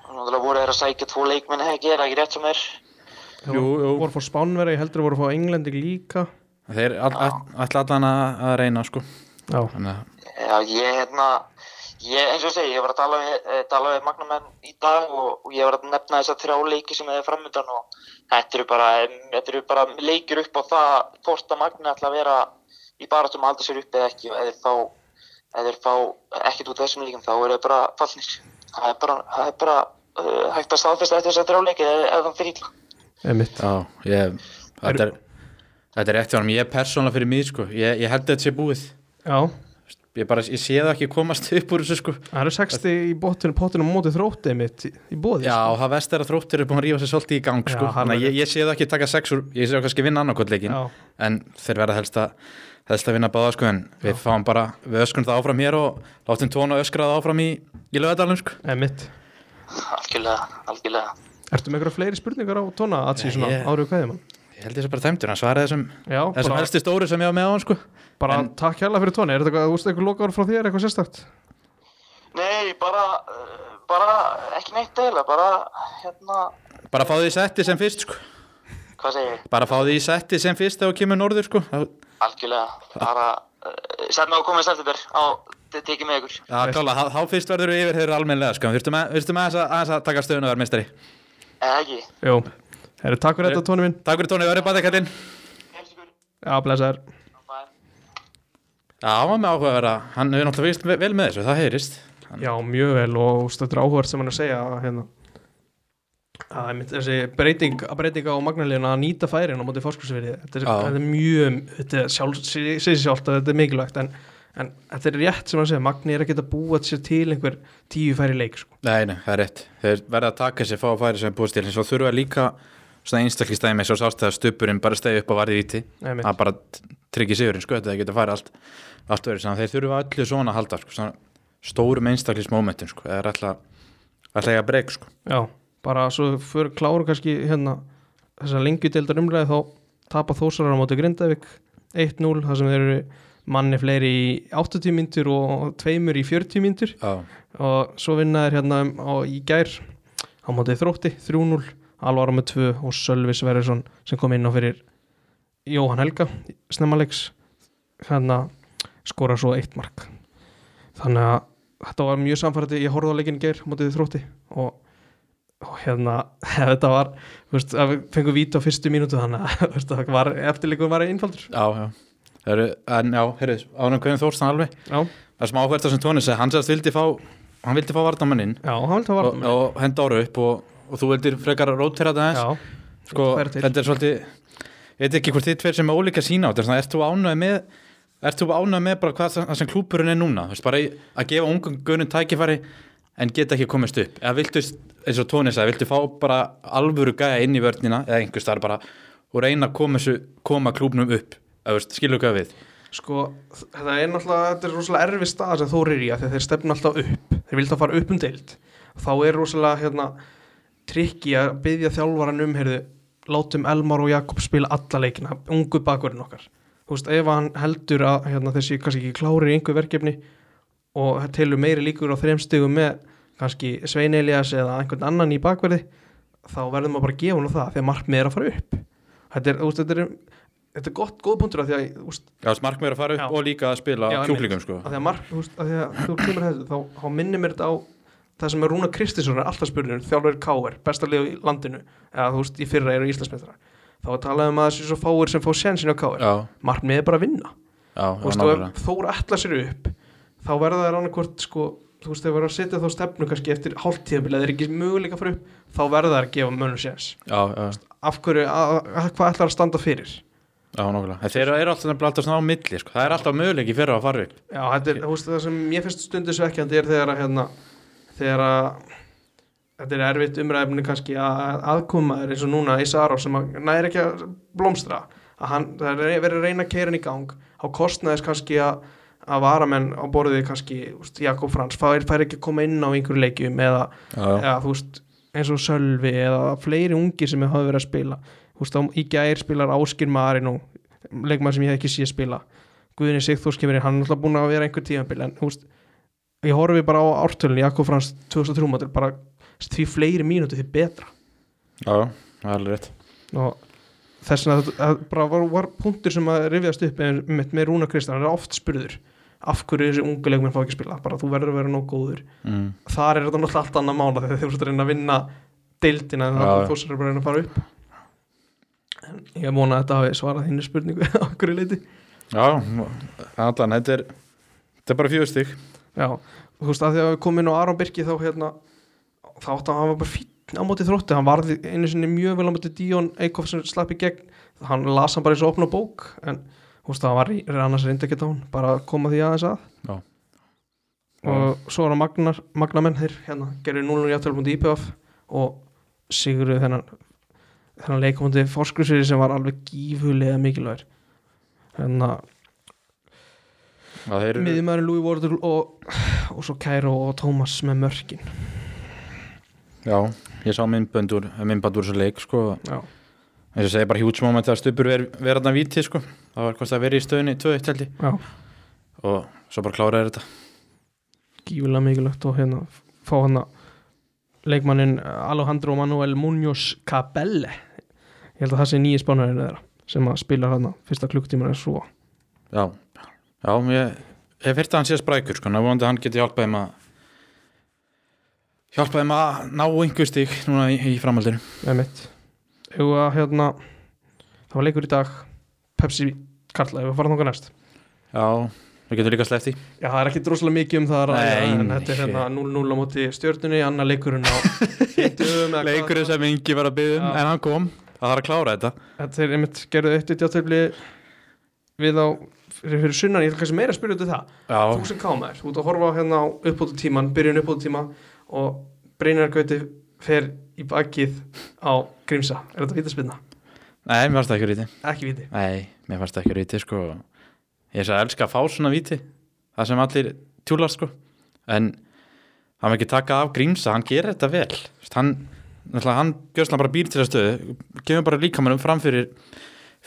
Og Náttúrulega voru þeir að sækja tvo leikmenn hegi, er það ekki rétt sem er? Þeir Jú, jú. voru fór Spánverja, ég heldur að voru fór Englandi líka þeir all, all, all allan að, að reyna, sko já, þannig að, Já, ég hérna, ég, eins og ég segi, ég var að tala við, eh, tala við magnamenn í dag og, og ég var að nefna þess að þrjá leiki sem er framöndan og þetta eru bara, em, þetta eru bara leikir upp á það hvort að magna ætla að vera í baráttum að halda sér upp eða ekki og eða fá, eða fá ekkert út af þessum líkum þá eru þeir bara fallnir. Það er bara, það er bara uh, hægt að staðfesta eftir þess að þrjá leiki eða, eða þann fyrir illa. einmitt já, ég þetta er, þetta er eftir honum, ég er persónlega fyrir mig, sko ég, ég held að þetta sé búið já, ég bara, ég sé það ekki komast upp úr þessu, sko það eru 60 í botinu potinu mótið þróttið mitt í, í bóði já, og það vest er að þróttir er búin að rífa sér svolítið í gang, Já, sko hann þannig er- að ég, ég sé það ekki taka sex úr, ég sé það kannski vinna annarkotleikin, Já. en þeir verða helst að helst að vinna báða, sko, en við fáum bara við öskrum það áfram hér og látum tóna öskrað áfram í, í lögadalum, sko einmitt Algjörlega, algjörlega. Ertu með einhverja fleiri spurningar á tóna að því svona Nei, ég- árið kveðið mann? Ég held þess að bara tæmtur, hann svaraði þessum, Já, þessum bara- helsti stóru sem ég á með á hann sko. Bara takk hérlega fyrir tóna, er þetta eitthvað, þú veist eitthvað lokaður frá þér, eitthvað sérstakt? Nei, bara, eh, bara ekki neitt eða, bara, hérna, Bara fá því í setti sem fyrst sko. hvað segir ég? Bara fá því í setti sem fyrst þegar þú kemur norður sko. Það Algjörlega, bara uh, setna á komið september á te- tekið með ykkur. er klálega, þá- þá fyrst verður við yfir þeirra almennilega sko. Þurftum að, þurftum aðeins að, aðeins að taka stöðun og vera meistari. Eða ekki? Jú, herru, takk fyrir þetta tónu minn Takk fyrir tónið, Öri Badekallinn. Helst ykkur. Já, blessaður Bye. Já, hann var með áhuga að vera, hann hefur náttúrulega fyrst vel með þessu, það heyrist. Hann, Já, mjög vel og úst, þetta er áhverð sem hann er að segja að, hérna, að einmitt þessi breyting, að breytinga á magnalíðuna að nýta færin á móti fórskursverði þetta, er- Já. þetta er mjög, þetta er sjálf segir sig sjálft að þetta er mikilvægt en, en þetta er rétt sem hann segja, magni er að geta búa sér til einhver tíu færi leik sko. nei, nei, það er rétt. Þeir verða að taka sér fá að færi sem búist til, en svo þurfa líka svona einstaklistæmi eins og sást að stupurinn bara stegi upp og varði víti. Einmitt. Það bara tryggir sigurinn sko, þetta geta að fara allt, allt verið saman. Þeir þurfa öllu svona að halda sko, svona stórum einstaklismómentum sko, eða er alltaf alltaf ég að breyka sko. Já, bara svo fyrir kláru kannski hérna þessar lengjudeildar umræði þá tapa þósarar á móti Grindavík 1-0 þar sem þeir eru manni fleiri í 80 myndur og tveimur í 40 myndur Já, og svo vinna þeir hérna um- á, í gær á móti þrótti 3-0, Alvaro með 2 og Sölvi Sverjesson sem kom inn á fyrir Jóhann Helga snemmalegs hérna skora svo eitt mark þannig að þetta var mjög samfærdi ég horfði á leikin í gær á móti þrótti og, og hérna þetta var, þú veist, að við fengum víta á fyrstu mínútu þannig að þú veist, það var eftirleikum var einfaldur já, já. Það Eru, en já, heyrðu, ánum hverjum Þórstan alveg. já, Það er smá áhvert sem Tóni segi, hann sagðist vildi fá, hann vildi fá vartamanninn já, hann vildi að og, varna og henda ára upp og, og þú vildir frekar rótera þetta aðeins. já, sko, færa til. þetta er svolítið, veit ekki hvort þið tveir sem er ólíka sína á þetta, er þú ánægð með ert þú ánægð með bara hvað það sem klúpurinn er núna, þú veist, bara í- að gefa ungum gunnum tækifæri en geta ekki komist upp eða viltu, eins og Tóni sagði, viltu fá bara alvöru gæja inn í vörnina eða einhvers þar bara og reyna að koma, þessu, koma klúbnum upp, eða, þú veist, skilur hvað við Sko, þetta er náttúrulega, þetta er rosalega erfið stað sem Þór er í að þegar þeir stefna alltaf upp, þeir vilja að fara upp um deild. Þá er rosalega, hérna, trikki að byggja þjálfaran um, heyrðu, látum Elmar og Jakob spila alla leikina, ungu bakverðin okkar. Þú veist, ef hann heldur að, hérna, þessi kannski ekki klárir í einhver verkefni og telur meiri líkur á þreim stigum með kannski Svein Elias eða einhvern annan í bakverði, þá verðum að bara gefa hann það þegar markmið er að fara upp. Þetta er, þú veist, þetta er, þetta er gott, góð punktur að því að, þú veist, Já, smark mér að fara upp Já. og líka að spila Já, kjúklingum sko. að því að mark, þú veist, að því að þú kemur þessu þá, þá minnir mér þetta á það sem er Rúna Kristinsson er alltaf spurningur þjálfur K.R. besta lið í landinu eða þú veist, í fyrra eru Íslandsmeistrar þá er talað um að þessi svo fáir sem fá sjensin á K.R. Já, markmið er bara að vinna já, já, þú veist, og nákvæmlega. ef Þór ætla sér upp þá verða þær annarkvort sko, þú veist, þau verða að setja þá stefnu kannski eftir hálftíðabil eða þeir eru ekki möguleika að fara upp þá verða þær að gefa mönnum sjens já, já, af hverju, að, að, hvað ætlar að standa fyrir já, nákvæmlega. En Þeir eru alltaf, nefnilega alltaf svona á milli sko. Það er alltaf möguleiki fyrir að fara upp Já, þetta er, þú veist, það sem ég finnst stundu svekkjandi er þegar að, hérna, þegar að, þetta er erfitt umræfni kannski að aðkoma er eins og núna í Saró sem að næri ekki að blómstra, að hann, það er verið að reyna að keira hann í gang, þá kostnaðis kannski að, að varamenn á borðið kannski, þú veist, Jakob Frans, fær, fær ekki að koma inn á einhverju leikjum eða, Já, eða þú veist, eins og Sölvi eða fleiri ungir sem hafa verið að spila þú veist, þá í gær spilar Áskir Marin og leikmann sem ég hef ekki sé spila Guðinni Sigþórs kemur inn, hann er alltaf búin að vera einhver tímabil en þú veist, ég horfi bara á ártölun Jakob Frans 2003 mótil bara því fleiri mínútu því betra já, það er alveg rétt og þess vegna þetta- það bara var, var punktur sem að rifjast upp með, með, með Rúna Kristján, hann er oft spurður af hverju þessi ungu leikmenn fá ekki að spila bara þú verður að vera nóg góður mm. þar er þetta náttúrulega allt annað mála þegar þeir voru að reyna að vinna deildina en Já, það já. þú sér bara að reyna að fara upp en ég vona að þetta hafi svarað þínu spurningu á hverju leiti Já, allan, þetta er þetta er bara fjögur stík já, þú veist að því að við komum inn á Aron Birki þá hérna þá átti hann hann var bara fín á móti þrótti hann varði einu sinni mjög vel á móti Díón Eikhoff sem slapp í gegn hann las hann bara eins og opna bók en þú veist að hann var í- er annars reyndi ekki á hann bara að koma því aðeins að Já. og svo er hann Magnar, Magnamenn þeir hérna gerðu 0-0 játtölu mútið IPF og siguru þennan þennan leikumandi fórskursveri sem var alveg gífulega mikilvægur hérna Já, þeir eru miðjumæðurinn Louis Wardle og, og svo Cairo og Thomas með mörkin Já, ég sá myndbönd úr myndbönd úr þessu leik, sko já, eins og segja bara huge moment að stupur ver, vera þarna víti, sko það var hvort það verið í stöðinni, tvö eitt held ég já, og svo bara kláraði þetta gífulega mikilvægt og hérna fá hann að leikmannin Alejandro Manuel Munoz Cabelle ég held að það sé nýja spánarinn þeirra sem að spila hann fyrsta klukktíman er svo Já, já, ég hef hýrt að hann sé sprækur, sko, ná vonandi að hann geti hjálpað þeim að hjálpað þeim að ná einhver stík núna í, í framhaldinu með mitt og að hérna það var leikur í dag Pepsi Karla, ef við farum þangað næst Já, við getum líka sleppt því Já, það er ekki droslega mikið um það að ræða, Nei, en þetta er shit. hérna 0-0 á móti stjörnunni, annar leikurinn á fimmtudögum eða hvað Leikurinn sem yngi var að byggja um, Já. en hann kom Það þarf að klára þetta Þetta er einmitt gerðu eitt eitt játtöfli við á fyrir, fyrir sunnan, ég ætla kannski meira að spyrja út í það Já, þú sem kámaður, þú ert að horfa á hérna á uppbótu tíman, byrjun uppbótu tíma og Brynjar Gauti fer í bakið á Grímsa er þetta vítaspinna? nei, mér varst það ekki ríti Ekki víti Nei, mér fannst það ekki ríti sko Ég sagði elska að fá svona víti Það sem allir tjúlar sko En hann var ekki taka af grímsa Hann gerir þetta vel Vist, Hann, náttúrulega, hann gjöðslega bara býr til að stöðu Gefur bara líkamannum fram fyrir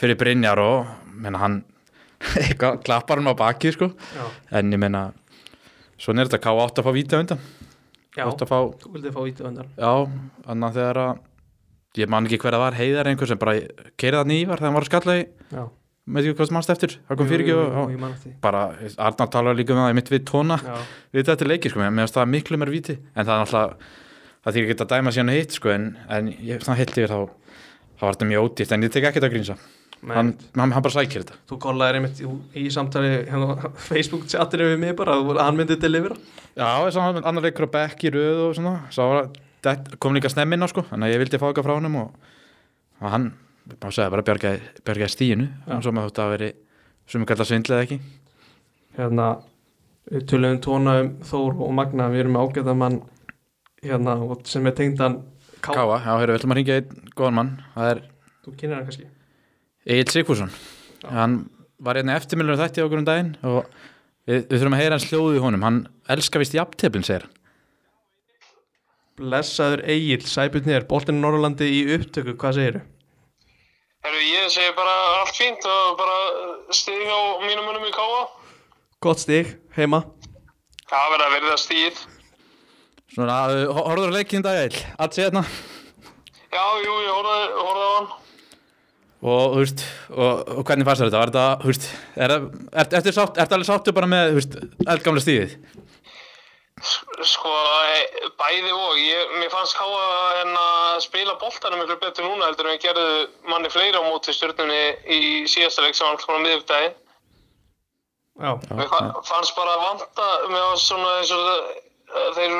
Fyrir Brynjar og menna, hann, eitthvað, Klappar hann á baki sko Já, En ég meina Svona er þetta K8 að fá víti á undan já K8 að fá þú vildið fá víti á undan Já, annar þegar að ég man ekki hver að var heiðar einhver sem bara keirði það nývar þegar hann var að skalla í Já, með því hvað sem mannst eftir, það kom fyrir og ekki ég man eftir því. bara, Arnar talar líka um það í mitt við tóna Já, við þetta leiki, sko, mér mér finnst það miklu mér viti en það er náttúrulega, það þýr ekki að dæma síðan hitt, sko, en, en ég, svona hitt yfir þá þá var þetta mjög ódýrt, en ég tek ekki þetta að grínsa menn, hann, hann, hann bara sækir þetta þú kollaðir einmitt í, í samtali hérna, á Facebook chatinu við mig bara að hann myndi delivera Já, þess að hann annar leikur á bekk í röð og svona, svo var, það- kom líka snemmin á, sko, þannig að ég vildi fá eitthvað frá honum og, og hann má segja bara bjargaði, bjargaði stíinu eins og maður þótt að veri sem er kallað svindla eða ekki hérna við tölum tóna um Þór og Magna við erum með ágæðan mann hérna og sem er tengdan Ká, Káa, já, heyrðu, við ætlum að ringja einn góðan mann það er þú kynir hann kannski Egil Sigfússon hann var hérna eftirmilunum þætti okkur um daginn og við, við þurfum að heyra hans hljóðu í honum hann elskar vist jafnteflin, segir hann blessaður Egil, sæbutnir, boltinn í Norrlandi í upptöku, hvað segirðu? Herru, ég segi bara allt fínt og bara uh, stig á mínum munum í káa. gott stig, heima Það verður að verða stíð. svona, uh, hor- horfður á leikinn í dag Egil allt sé hérna Já, jú, ég horfði, horfði á hann. og, þú veist, og, og hvernig fannst þér þetta, var þetta, þú veist er, er, er, er, sátt, er alveg sáttu bara með, þú veist, eldgamla stíðið Sko, e- bæði og. Ég, mér fannst káa en að spila boltanum miklu betur núna heldur en gerðu manni fleiri á móti stjórnunni í síðasta leik sem var svona miðvikdagi. já, Mér fa- fannst bara vanta, mér var svona eins og það- þeir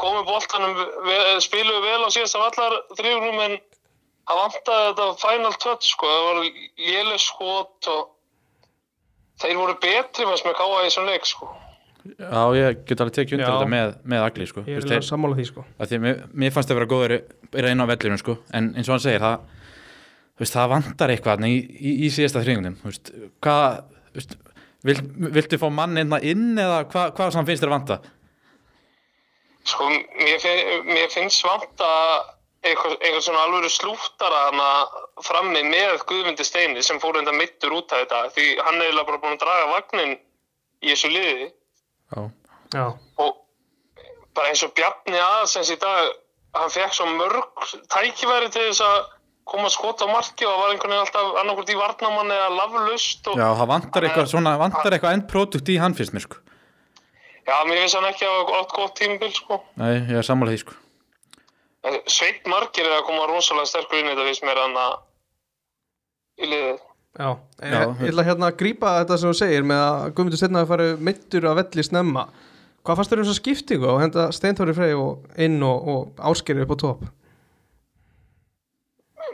komu boltanum, ve- spiluðu vel á síðasta vallar þrjúrum en það vantaði þetta final touch sko, það var léleg skot og þeir voru betri fannst með káa í þessum leik sko. Já, ég get alveg tekið undir Já. þetta með, með Agli sko. Þú ég er veist, að þeir, sammála því sko að því, mér, mér fannst það vera góður er einn á vellinu sko. en eins og hann segir það, þú veist, það vantar eitthvað þarna í, í, í síðasta þrýngunum veist, hvað þú veist, vil, viltu fá mann einna inn eða hva, hvað sem hann finnst þér að vanta Sko, mér, fin- mér finnst vanta eitthvað, eitthvað svona alvöru slúftara hana frammi með Guðmundi Steini sem fór enda mittur út af þetta því hann er eiginlega bara búin að draga vagnin í þessu liði. Já, já, og bara eins og Bjarni aðsens í dag hann fekk svo mörg tækifæri til þess að koma skot á marki og var einhvern veginn alltaf annarkvort í varnamann eða laflust og Já það vantar eitthvað, svona, vantar eitthvað endprodukt í hann finnst mér sko. já, mér finnst hann ekki að hafa átt gott tímabil sko. Nei, ég er sammála því sko. En Sveit margir er að koma rosalega sterkur inn í þetta finnst mér hann að í liðið já, ég, Já. ég ætla hérna að grípa þetta sem þú segir með að Guðmundur Steinn að fara mittur að velli snemma hvað fannst þér um þessa skiptingu og henda Steintóri Frey og inn og, og áskeri upp á topp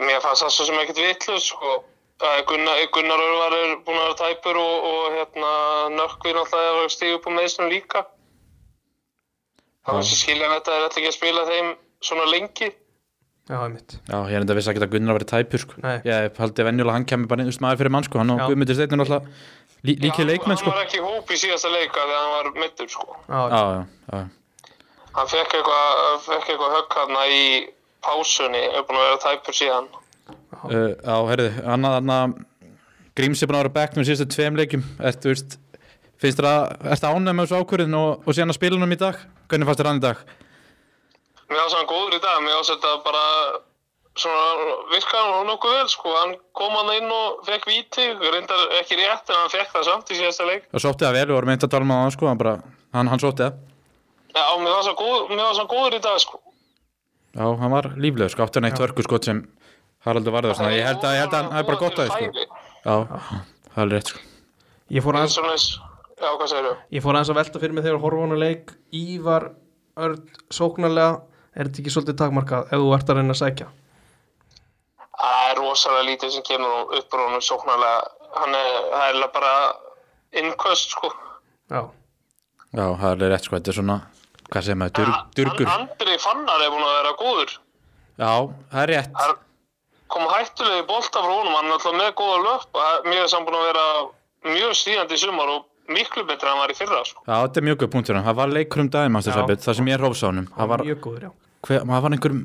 Mér fannst það svo sem ekkert vitlaus sko. Eh, Gunnar, Gunnar Örvar er búin að vera tæpur og, og hérna, Nökkvi náttúrulega er að stíga upp á meðslum líka. Það var Já. sem skilja þetta er alltaf ekki að spila þeim svona lengi. já, einmitt, Já, ég er enda viss að geta Gunnar að vera tæpur sko. Nei. Ég haldi venjulega að hann kemur bara einn maður fyrir mann sko. hann og Já. Guðmundur Steinn er alltaf lí, líkið leikmenn sko. Hann var ekki í hóp í síðasta leika þegar hann var mittur sko. já, Já, já, já Hann fekk eitthvað fekk eitthvað högg hann í pásunni, er búin að vera tæpur síðan. Uh, á, heyrðu, annað þarna Gríms er búin að vera á bekknum síðustu tveim leikjum Ertu, veist, finnst þér að Ertu ánægð með þessu ákvörðin og, og síðan að spila hann í dag? Hvernig fannst þér hann í dag? Mér fannst hann góður í dag, mér fannst þetta bara svona virkaði hann nokkuð vel sko, hann kom hann inn og fekk víti, reyndar ekki rétt en hann fekk það samt í síðasta leik. Og sótti það vel, við vorum meint að tala með hann sko hann, bara, hann, hann sótti það Já, mér fannst hann góð, mér fannst hann góður í dag sko. Já, hann var líflegur sko, átti hann eitt vörku sko sem Haraldur varður svona, ég held að, ég held að hann er bara gott að því sko sko. Já, það er alveg rétt sko ég fór Það aðeins er svona eins, já hvað segir þú? Ég fór aðeins að velta fyrir mig þegar horfónu leik Ívar Örn sóknarlega er þetta ekki svolítið takmarkað ef þú ert að reyna að sækja Það er rosalega lítið sem kemur upp úr honum sóknarlega, hann er, það er eiginlega bara innköst sko. Já, Já, það er alveg rétt sko, þetta er svona Hvað segir maður, dur, durgur Já, Hann- Andri Fannar er búin að vera góður. það er rétt Það er- kom hættulegi bólta frá honum, hann er alltaf með góða löp og mér er samt búin að vera mjög stíðandi í sumar og miklu betra en hann var í fyrra sko. Já, þetta er mjög góð punktur hann, það var leikur um daginn, manstu Já. Sæbjörn, það sem ég rófsa honum Það var mjög góður, já hver, maður var einhver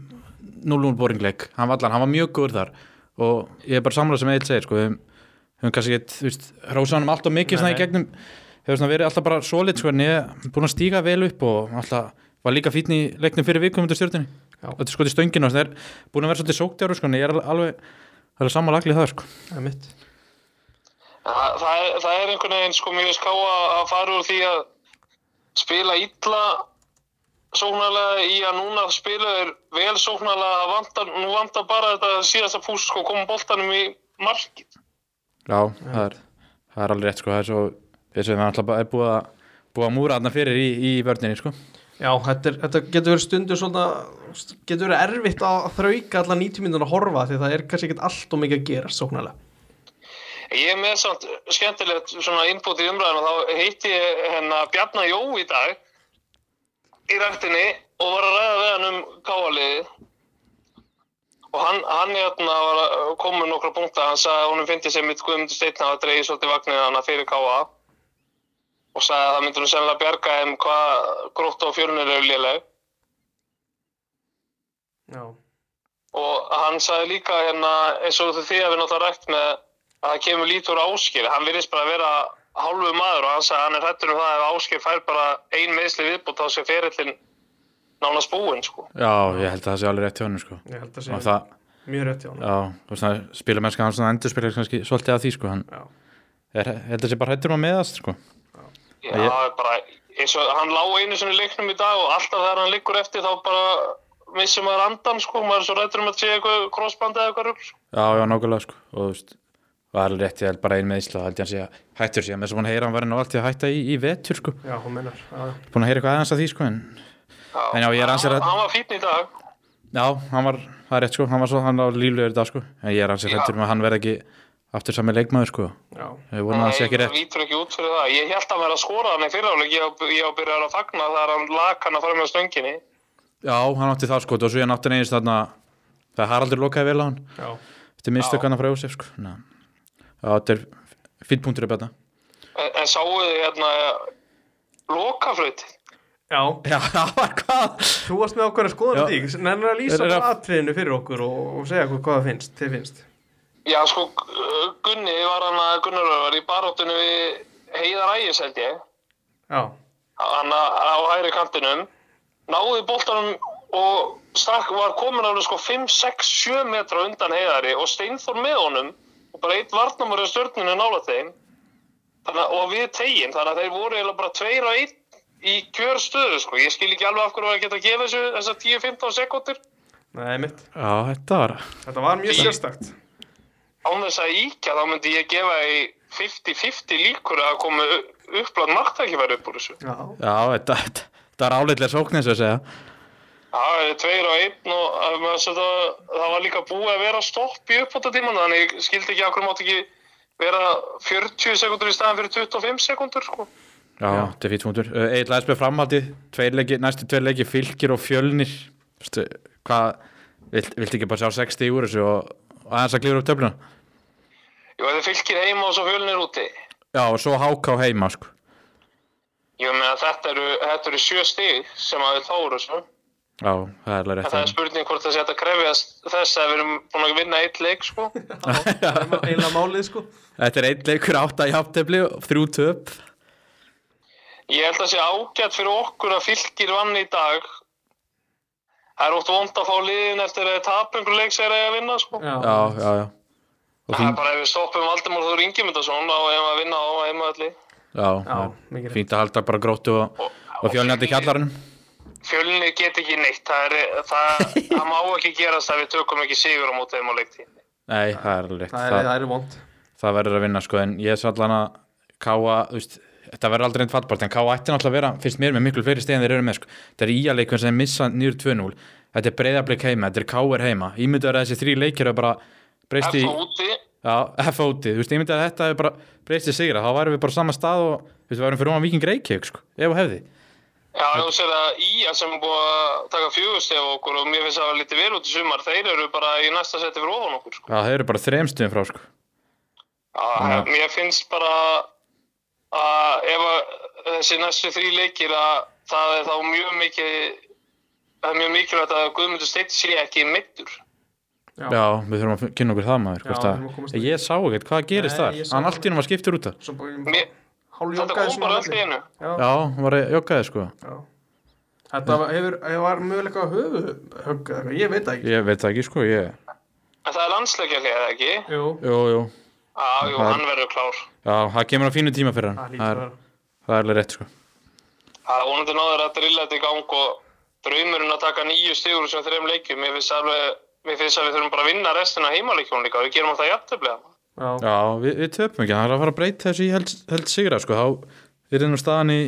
0-0 boringleik, hann var allan, hann var mjög góður þar og ég er bara samlega sem Egil segir sko, við höfum- höfum kannski gett, þú veist rósa hann um allt og mikið svona í Nei, nei. gegnum hefur svona verið alltaf bara solid sko, en ég er búin að stíga vel upp og alltaf var líka fítn í leiknum fyrir vikum undir stjórninni Já. þetta er sko til stönginu og það er búin að vera svolítið sóktjáru sko, en ég er al- alveg það er samanlagli það sko Það er mitt það, það, er, það er einhvern veginn sko mjög ská að að fara úr því að spila illa sóknarlega í að núna spila er vel sóknarlega að vantar, nú vantar bara þetta síðasta pús sko koma bóltanum í markið Já, það er, það er alveg rétt sko, það er svo, við sem við alltaf bara er búið að búið að múra þarna fyrir í, í vörninni sko Já, þetta, er, þetta getur verið stundu svona, getur verið erfitt að þrauka alla 90 minnur að horfa því það er kannski ekkert allt og mikið að gera sóknarlega. Ég er með samt skemmtilegt svona innbúti í umræðan og þá heitti ég hérna Bjarnar Jó í dag í rættinni og var að ræða við hann um káaliði og hann, hann hérna var að koma með nokkra punkta hann sagði að honum fyndi sem mitt Guðmundur Steinn hafa dreigið svolítið vagnir hann fyrir káa og sagði að það myndi nú sennilega bjarga þeim hvað grótt á fjörunir eru léleg Já. og hann sagði líka hérna eins og því að við náttúrulega rætt með að það kemur lítur áskil hann virðist bara að vera hálfu maður og hann sagði að hann er hrættur um það ef áskil fær bara ein meðsli viðbútt á sig ferillin nánast búinn sko Já, ég held að það sé alveg rétt hjá hann sko. Ég held að og segja það, mjög rétt hjá hann. já, þú veist það spilamennska hann svona endurspilar kannski svolítið að því sko, hann Já. er, ég held að sé bara hættur um að meðast sko. Já, það er bara, eins og hann lá einu sinni í leiknum í dag og alltaf þegar hann liggur eftir þá bara missir maður andan sko maður er svo rættur um að sé eitthvað crossband eða eitthvað rugl sko. Já, já, nákvæmlega sko, og þú veist það er alveg rétt, ég held bara ein meðisla, held ég hann sé að hættur sé, með þess að hann heyra hann verið nú allt í að hætta í, í vetur sko, Já, hún menar. Já. búin að heyra eitthvað aðeins að því sko, en En já, ég er ansi Hann- hrædd- Hann var fínn í dag já, hann var, það er rétt sko, hann var svo, hann var líflegur í dag sko, en ég er hans hættur um að hann verði ekki aftur sami leikmaður sko, Já. ég vona að það sé ekki Nei, það rétt, lítur ekki út fyrir það. Ég held að vera að skora hann í fyriráleik, ég, ég á byrjað að fagna þar hann lak hann að fara með stönginni. já, hann átti það sko, og svo ég nátti neins þarna, það Haraldur lokaði vel á hann, Já. þetta er mistök hann að frá Jósef sko, Ná. já, þetta er fýtt punktur upp þetta. En, en sáu þið hérna lokaflöyti? Já. Já, það var hvað? Þú varst með okkur að skoða Já. þetta í, nennir að lýsa Þeir eru að- atriðinu fyrir okkur og, og segja okkur hvað það finnst, þið finnst. Já, sko, Gu- Gunni var hann að Gunnarur var í baróttunni við Heiðar Ægis held ég, Já. hann að- á hægri kantinum, náði boltanum og stakk, var komin alveg sko 5, 6, 7 metra undan Heiðari og Steinþór með honum og bara eitt varnamur í stjórninu nála þeim þannig, að- og við tegin, þannig að þeir voru eiginlega bara 2 og 1 í kjörstöðu sko, ég skil ekki alveg af hverju var að geta að gefa þessu þessar 10-15 sekundir Nei, mitt. Já, þetta var, Þetta var mjög Ég- sérstakt. án þess að íkja þá myndi ég gefa í 50-50 líkur að koma upplátt marktækifæri upp úr þessu. Já. já, þetta, þetta, þetta var álitlega sóknins að segja. Það er tveir og einn og að maður setja- það var líka búið að vera stopp í uppbóta tíman þannig ég skildi ekki okkur mátt ekki vera 40 sekundur í staðan fyrir 25 sekundur sko. Já, þetta er fýtt punktur. Eh, Egil Læsbjörn framhaldi, tveir leiki, næstu tveir leiki fylgir og fjölnir. Vistu, hvað, vilt, vilt ekki bara sjá 60 úr þessu og, og aðeins að klifra upp töfluna? Jú, ef þið fylgir heima og svo fjölnir úti. Já, og svo háká heima, sko. Ég meina þetta eru, þetta eru sjö stig sem að við þóru sko. Já, það er alveg En það er rétt. spurning hvort það sé hægt að krefjast þess að við erum búin að vinna eitt leik sko. Það var eiginlega málið, sko. Þetta er einn leikur átt að jafntefli og þrjú töp. Ég held að sé ágætt fyrir okkur að fylgir vann í dag. Það er ótt vond að fá liðin eftir að tapungur leik segir að vinna, sko. Já, já, já. Og Það er fín, bara ef við stoppum Valdimór Þór Ingimundarsson og ef að vinna á heimaðalli. já, Já, já, mikið rétt. fínt að halda bara gróttu og, og fjölnandi í kjallarunum. Fjölni get ekki neitt. Það, er, það, það má ekki gerast að við tökum ekki sigur á móti þeim á leiktíðinni. Nei, það er alveg rétt. Það er, það er vond. það verður að vinna sko en ég er svo allan að Káa, þú veist, þetta verður aldrei einn fallbart en Káa ætti náttúrulega að vera, finnst mér með miklu fleiri stegin þeir eru með sko, þetta er íaleikun sem missa nýr 2-0, þetta er breyðablik heima þetta er Káar heima, ímyndaður að þessi þrý leikir hafa bara breyst í Það er úti. F-óti, þú veist, ímyndaður að þetta hefur bara breyst í sigra, þá værum við bara á sama stað og þú veist, við værum fyrir ofan viking reykjauk sko, ef og hefði Já, þú sér að Ía sem er búið að taka fjögustef okkur og mér finnst það lítið vel út í sumar. Þeir eru bara í næsta seti fyrir ofan okkur, sko. Já, það eru bara þremstuðum frá sko Já, mér finnst bara að ef að þessi næstu þrý leikir að það er þá mjög mikið það er mjög mikilvægt að Guðmundur Steinn sé ekki meittur. Já. Já, við þurfum að kynna okkur það maður Já, hvort við að- þurfum að komast í- Ég sá ekkert, hvað gerist Nei, þar? ég sá Hann það. allt í náttúrulega skiptir út af Svo bara Mér- Þetta hálfjókaði kom bara öll í einu. Já. Já, hann var að joggaði sko Já. Þetta var, hefur, hefur var möguleika að höfu högg eða eitthvað, ég veit það ekki. Ég veit það ekki sko, ég En það er landsleikjalið, eða ekki? Jú, Jú, jú, Já, jú, hann verður klár. já, það kemur á fínu tíma fyrir það hann Það lítur að er, vera. það er alveg rétt sko Það er vonandi náður að drilla þetta í gang og draumurinn að taka nýju stigur sem þreim leikjum. Mér finnst alveg, mér finnst að við þurfum bara að vinna restina heimaleikjum líka. Við gerum það jafntöflega. Já, Já, við, við töpum ekki, það er að fara að breyta þessu í held, held sigra sko Þá er einu staðan í,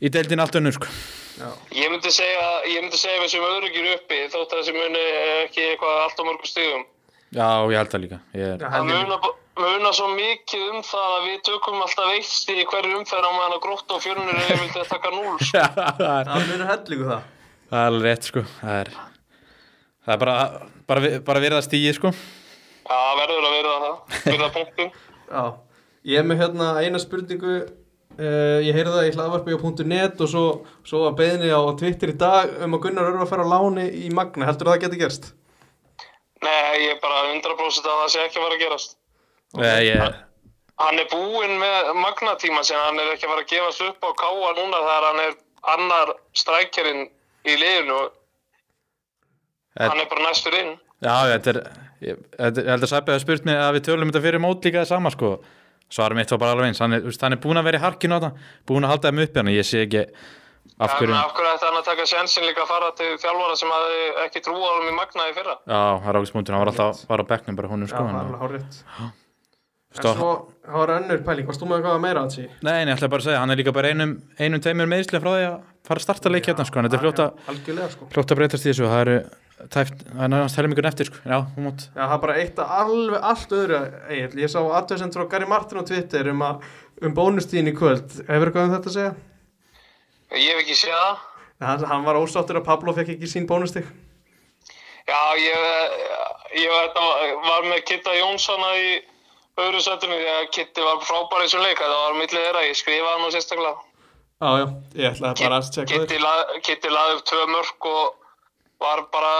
í deildin allt önnur sko. Já. Ég myndi segja, ég myndi segja við sem öðrugir uppi þótt að þessi muni eh, ekki eitthvað allt á mörgum stigum. Já, ég held það líka ég er, Já, Það held ég muna, muna svo mikið um það að við tökum alltaf eitt stig í hverju umferð á meðan að grótt og fjörnur eða vildi að taka núl. sko. það er Það munur hellingu það það er alveg rétt sko. það er, það er bara, bara, vi- bara verið að stíi sko. Já, verður að verða það. Verða punktum. Já, ég er með hérna eina spurningu Uh, ég heyrði það í hlaðvarpi á .net og svo, svo að beðinni á Twitter í dag um að Gunnar Örvar fara á láni í Magna heldur það geti gerst? Nei, ég er bara 100% að það sé ekki að fara að gerast. okay. Eh, ég, Hann er búinn með magnatíma sem hann er ekki að fara að gefast upp á káa núna þegar hann er annar strækjarinn í liðinu og Þetta- hann er bara næstur inn. Já, þetta er, ég, þetta- ég held að Sæpi hafa spurt mig að við tölum þetta fyrir mót líka það sama sko. Svarum mitt var bara alveg eins, hann er, þú veist, hann er búin að vera í harkinu á þetta, búin að halda þeim uppi hann, ég sé ekki af Af hverju. af hverju ætti hann að taka sjensin líka að fara til þjálfara sem hafði ekki trú á honum í magna í fyrra? Já, það er ákveðs punktur, hann var alltaf, var á bekknum bara honum Já, sko. það er hann, alveg hárétt og, En stó, svo, það var önnur pæling, varst þú með eitthvað meira að því? nei, nei, ég ætla bara að segja, hann er líka bara einum, einum teimur meðislega frá því að fara að starta leik hérna sko, en þetta er fljótt að, Algjörlega sko fljótt að breytast í þessu, það eru tæft, það er náttúrulega helmingurinn eftir sko, já, hún mót. Já, það er bara eitt að alveg allt öðru Egil, ég sá aðtöðsendur á Gary Martin á Twitter um, að, um bónustíðin í kvöld Hefur eitthvað um þetta að segja? Ég hef ekki séð það. Hann, hann var ósáttur að Pablo fekk ekki sín bónustíð Já, ég, ég þetta var- var með Kitta Jónssona í öðru setinu því að Kitti var frábær í þessum leik. Það var millið þeirra, ég skrifaði hann á sérstaklega. Já, já, ég ætlaði bara að tjekka þér Kitty lað- Kitty laði upp tvö mörg og var bara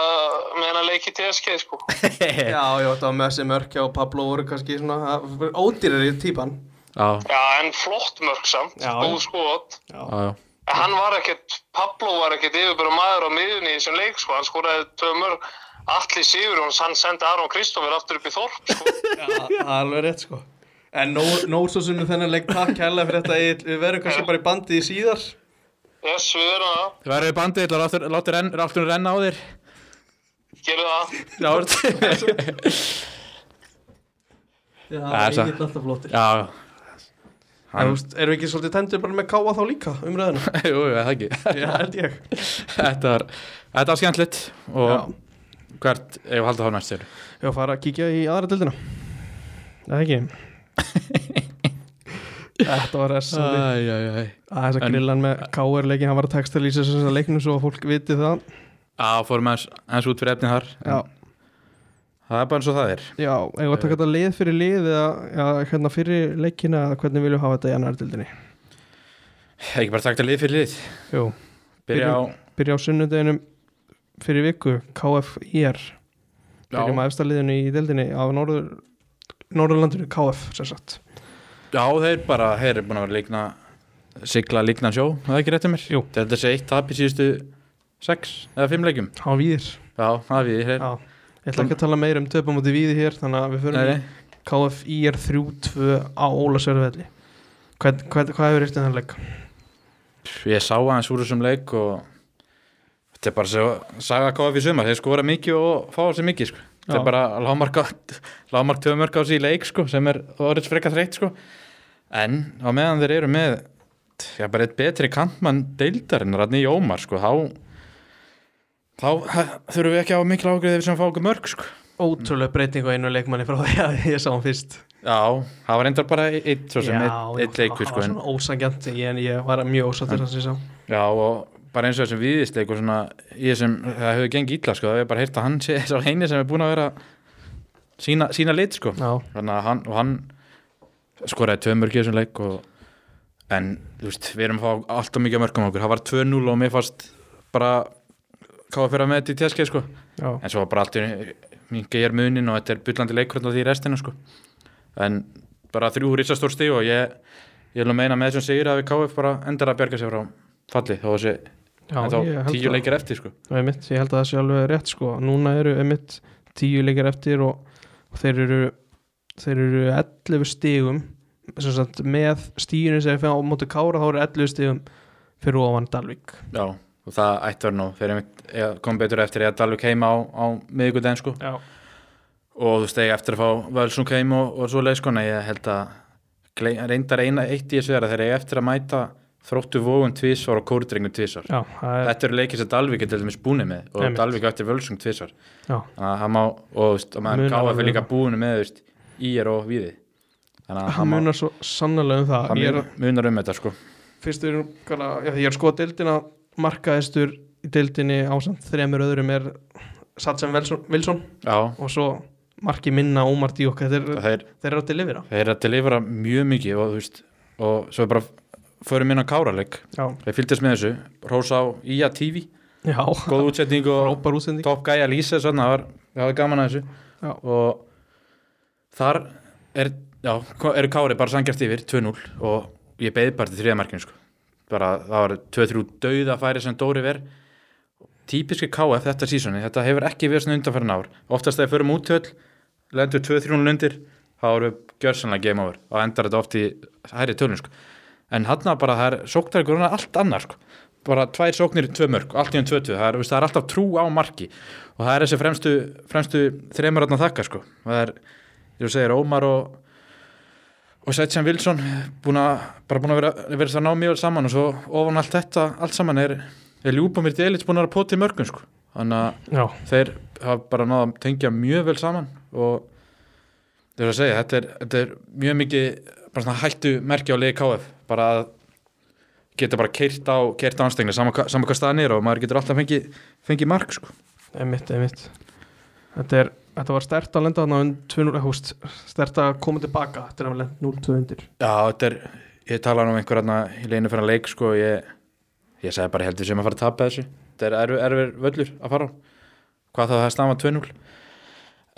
með hennar leik í TSK sko. Já, já, þetta var með þessi mörkja og Pablo voru kannski svona ódýrari típan Já, Já, en flott mörg samt, Já, góð já. skot. já, já, En Hann var ekkert, Pablo var ekkert yfirbyrðu maður á miðunni í þessum leik sko, hann skoraði tvö mörg. Alli Sigurjóns, hann sendi Aron Kristófur aftur upp í Þorp sko. Já, það er alveg rétt sko En nóg, nóg svo sem við þennan leik takk kærlega fyrir þetta Egill. Við verðum kannski bara í bandið í síðar Yes, við erum það, þú verður í bandið, láttu láttu renn- láttu hún renna á þér. gerum það. Já, þú- það er Já, það svo- er ekki alltaf flottir já, já. En þú veist, erum við ekki svolítið tendið bara með káa þá líka umræðina? Jú, jú, það ekki Já, held ég. Þetta var, þetta var skemmtilegt og hvert, ef við haldum þá næst þér Ég var að fara að kíkja í aðra dildina. Það ekki. Þetta var þessandi. æj, æj Það er þess en- að grillan með káar leikin, hann var að textalýsa þess að leiknum svo að fólk viti það. Já, fórum aðeins, aðeins út fyrir efnið þar en Já, Það er bara eins og það er já, ég var að taka þetta lið fyrir lið eða já, hérna fyrir leikina eða hvernig viljum við hafa þetta í annar dildinni. Ekki bara takta lið fyrir lið Jú, Byrja á byrja á sunnudeginum fyrir viku, KFIR. Byrjum já, að efsta liðinu í dildinni á norður, Norðurlandinu, KF, sem sagt. já, þeir bara, þeir eru búin að vera líkna Sigla líkna sjó, er það er ekki rétt um mér Jú. Þetta er þessi eitt tap í síðustu sex eða fimm leikjum Há víðir. Já, það er við, þeir Já, ég ætla ekki að tala meira um töpum út í víði hér þannig að við förum Nei, í KFIR 3-2 á Ólasjörðvelli hvað, hvað, hvað hefur eftir þann leik? Ég sá aðeins úr þessum leik og þetta er bara svo saga KF í sumar, þeir skora mikið og fá sér mikið sko. Þetta Já. er bara lágmark, lágmark tömörk á sér í leik sko, sem er orðið frekar þreytt sko. En á meðan þeir eru með já, bara eitt betri kantmann deildarinn rann í Ómar sko, þá þá þurfum við ekki að hafa mikil ágrið ef sem fá okkur mörg sko. Ótrúlega breyting á einu leikmanni frá því að ég sá hann fyrst Já, það var reyndar bara eitt svo sem eitt, eitt leikur það sko, var en svona ósangjant ég, ég var mjög ósattur hans ég sá Já og bara eins og þessum viðisleik og svona ég sem það hefur gengið illa sko það hefur bara heyrt að hann sé sá heini sem er búin að vera sína, sína lit sko Já, þannig að hann og hann skoraði tvö mörg í þessum leik og en þú veist við erum að fá alltaf mikið af mörgum okkur það var 2-0 og mér fannst bara káða fyrir að með þetta í tjaskið sko já, en svo var bara alltaf mingi ég er munin og þetta er byllandi leikrönd á því restina sko en bara þrjú risastór stíg og ég ég vil nú meina með þessum sigir að við KF bara endar að bjarga sér frá falli þó að sé já en ég þá held tíu að- leikir eftir sko Já, einmitt, ég held að það sé alveg rétt sko núna eru einmitt tíu leikir eftir og, og þeir eru þeir eru 11 stigum sem sagt með stíunum sem við á móti kára þá eru 11 stigum fyrir ofan Dalvik já og það ætti verið nú þeir einmitt eiga- kom betur eftir eða Dalvik heima á, á miðvikudaginn sko Já, og þú stegi eftir að fá Völsung heim og, og svo leið sko en ég held að gley- reyndar eina eitt í þessu er að þeir eiga eftir að mæta þróttu vóum tvísvar og kórdrengu tvísvar já, það er, þetta eru leikir sem Dalvík er til dæmis búinir með og Einmitt. Dalvík eftir völsung tvísvar já, þannig að hann má, og, veist, og maður Munar um gáða alveg. fyrir líka búinu með veist, ír og víði þannig að hann hann má, munar svo sannlega um það hann ég er, mun- munar um þetta sko fyrst við erum, gala, já, því ég er sko að deildina markaðistur í deildinni ásamt þremur öðrum er Satsen Wilson, Wilson já, og svo marki minna Ómar Díok þeir, það er þeir eru að delivera Þeir eru að delivera mjög mikið og, þú veist, og svo bara förum inn á káraleg já, Þeir fylgdist með þessu, rósa á IA TV já, góð útsetning og frábær útsending topp gæja lýsa svona, það var, það var gaman að þessu Já. og þar er, já, eru kári bara sangjart yfir, 2-0 og ég beði bara til þriða markinu sko. bara það var 2-3 dauða færi sem Dóri ver típiski KF þetta sísoni, þetta hefur ekki verið svona undanfærin ár, oftast þegar förum út höll lendur 2-3 undir þá eru gjörsanlega game over og endar þetta oft í hæri tölun sko. en hann bara það er sóknar ykkur allt annar sko. bara tvær sóknir, tvö mörg allt í um 20, það er, veist, það er alltaf trú á marki og það er þessi fremstu, fremstu þreymur að þakka sko. það er, ég segir, Ómar og og Setjan Wilson búin að, bara búin að vera, vera það ná mjög vel saman og svo ofan allt þetta allt saman er, er Ljúbomir Delic búin að vera potið mörgum sko. þannig að já, þeir hafa bara náða að tengja mjög vel saman og það er að segja, þetta er, þetta er mjög mikið bara svona hættu merki á liði KF bara að geta bara keirt á, keirt á anstegni saman, hva- saman hvað staðan er og maður getur alltaf fengið fengi mark sko. einmitt, einmitt þetta er Þetta var stert að lenda þarna um 2-0 húst, stert að koma tilbaka eftir að hafa lenda 0-2 undir. Já, þetta er, ég talaði um einhver hérna í leginu fyrir að leik sko, ég, ég sagði bara heldur sem að fara að tapa þessu þetta er erfið erfir völlur að fara á hvað þá það stafa 2-0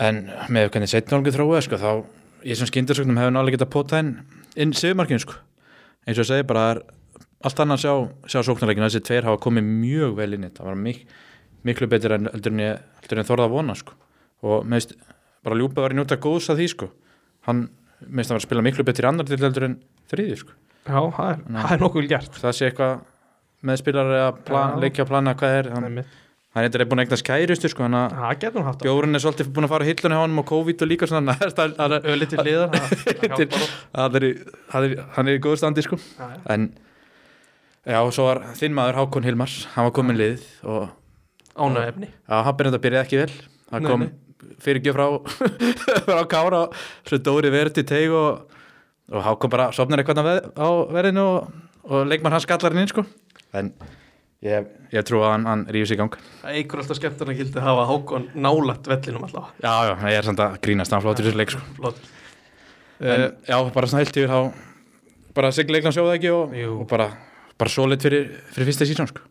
en með hvernig 17-0 þróið sko, þá ég sem skindarsögnum hefur nálega getað potað inn, inn sigurmarkinu sko. eins og ég segi bara það er allt annað að sjá, sjá sóknarleikinu þessi tveir hafa komið mjög vel inn í þetta. það var mik, miklu betur en heldur en ég, heldur en ég þorða að vona sko. og með veist, bara ljúpa var í njóta góðs að því sko. hann minnst að vera að spila miklu betur í annar til heldur en þriði sko. Já, það er, Ná. það er nokkuð vel gert. það sé eitthvað meðspilar að plan, Já. leikja að plana hvað er hann, Einmitt. hann er búin að eignast kærustu sko, hann að Það getur hún haft það. bjórun er svolítið búin að fara á hillunni á honum og COVID og líka svona það er- það er- það er- Ölitir liðar, það- það Til- hjálpar oft. það er í- það er í- hann er í góðu standi sko. Já, já. en já, og svo var þinn maður Hákon Hilmars hann var komin liðið og Ánægðefni. já, hann byrjaði að byrjaði ekki vel hann Nei, kom nei. fyrir frá frá Kára og svo Dóri verið til teig og, og Hákon bara sopnar eitthvað á veð- á verðinu og, og leikmann hann skallar hann inn sko. en ég, ég trú að hann, hann rífis í gang Það eikur alltaf skemmtana gildi að hafa Hákon nálægt vellinum alltaf. já, já, ég er samt að grínast hann flóttur í þessu leik sko. Flott. en, Uh, Eh, já, bara svona heilt yfir þá bara sigla leiklan sjóða ekki og, Jú. og bara, bara solid fyrir, fyrir fyrsta sísón sko.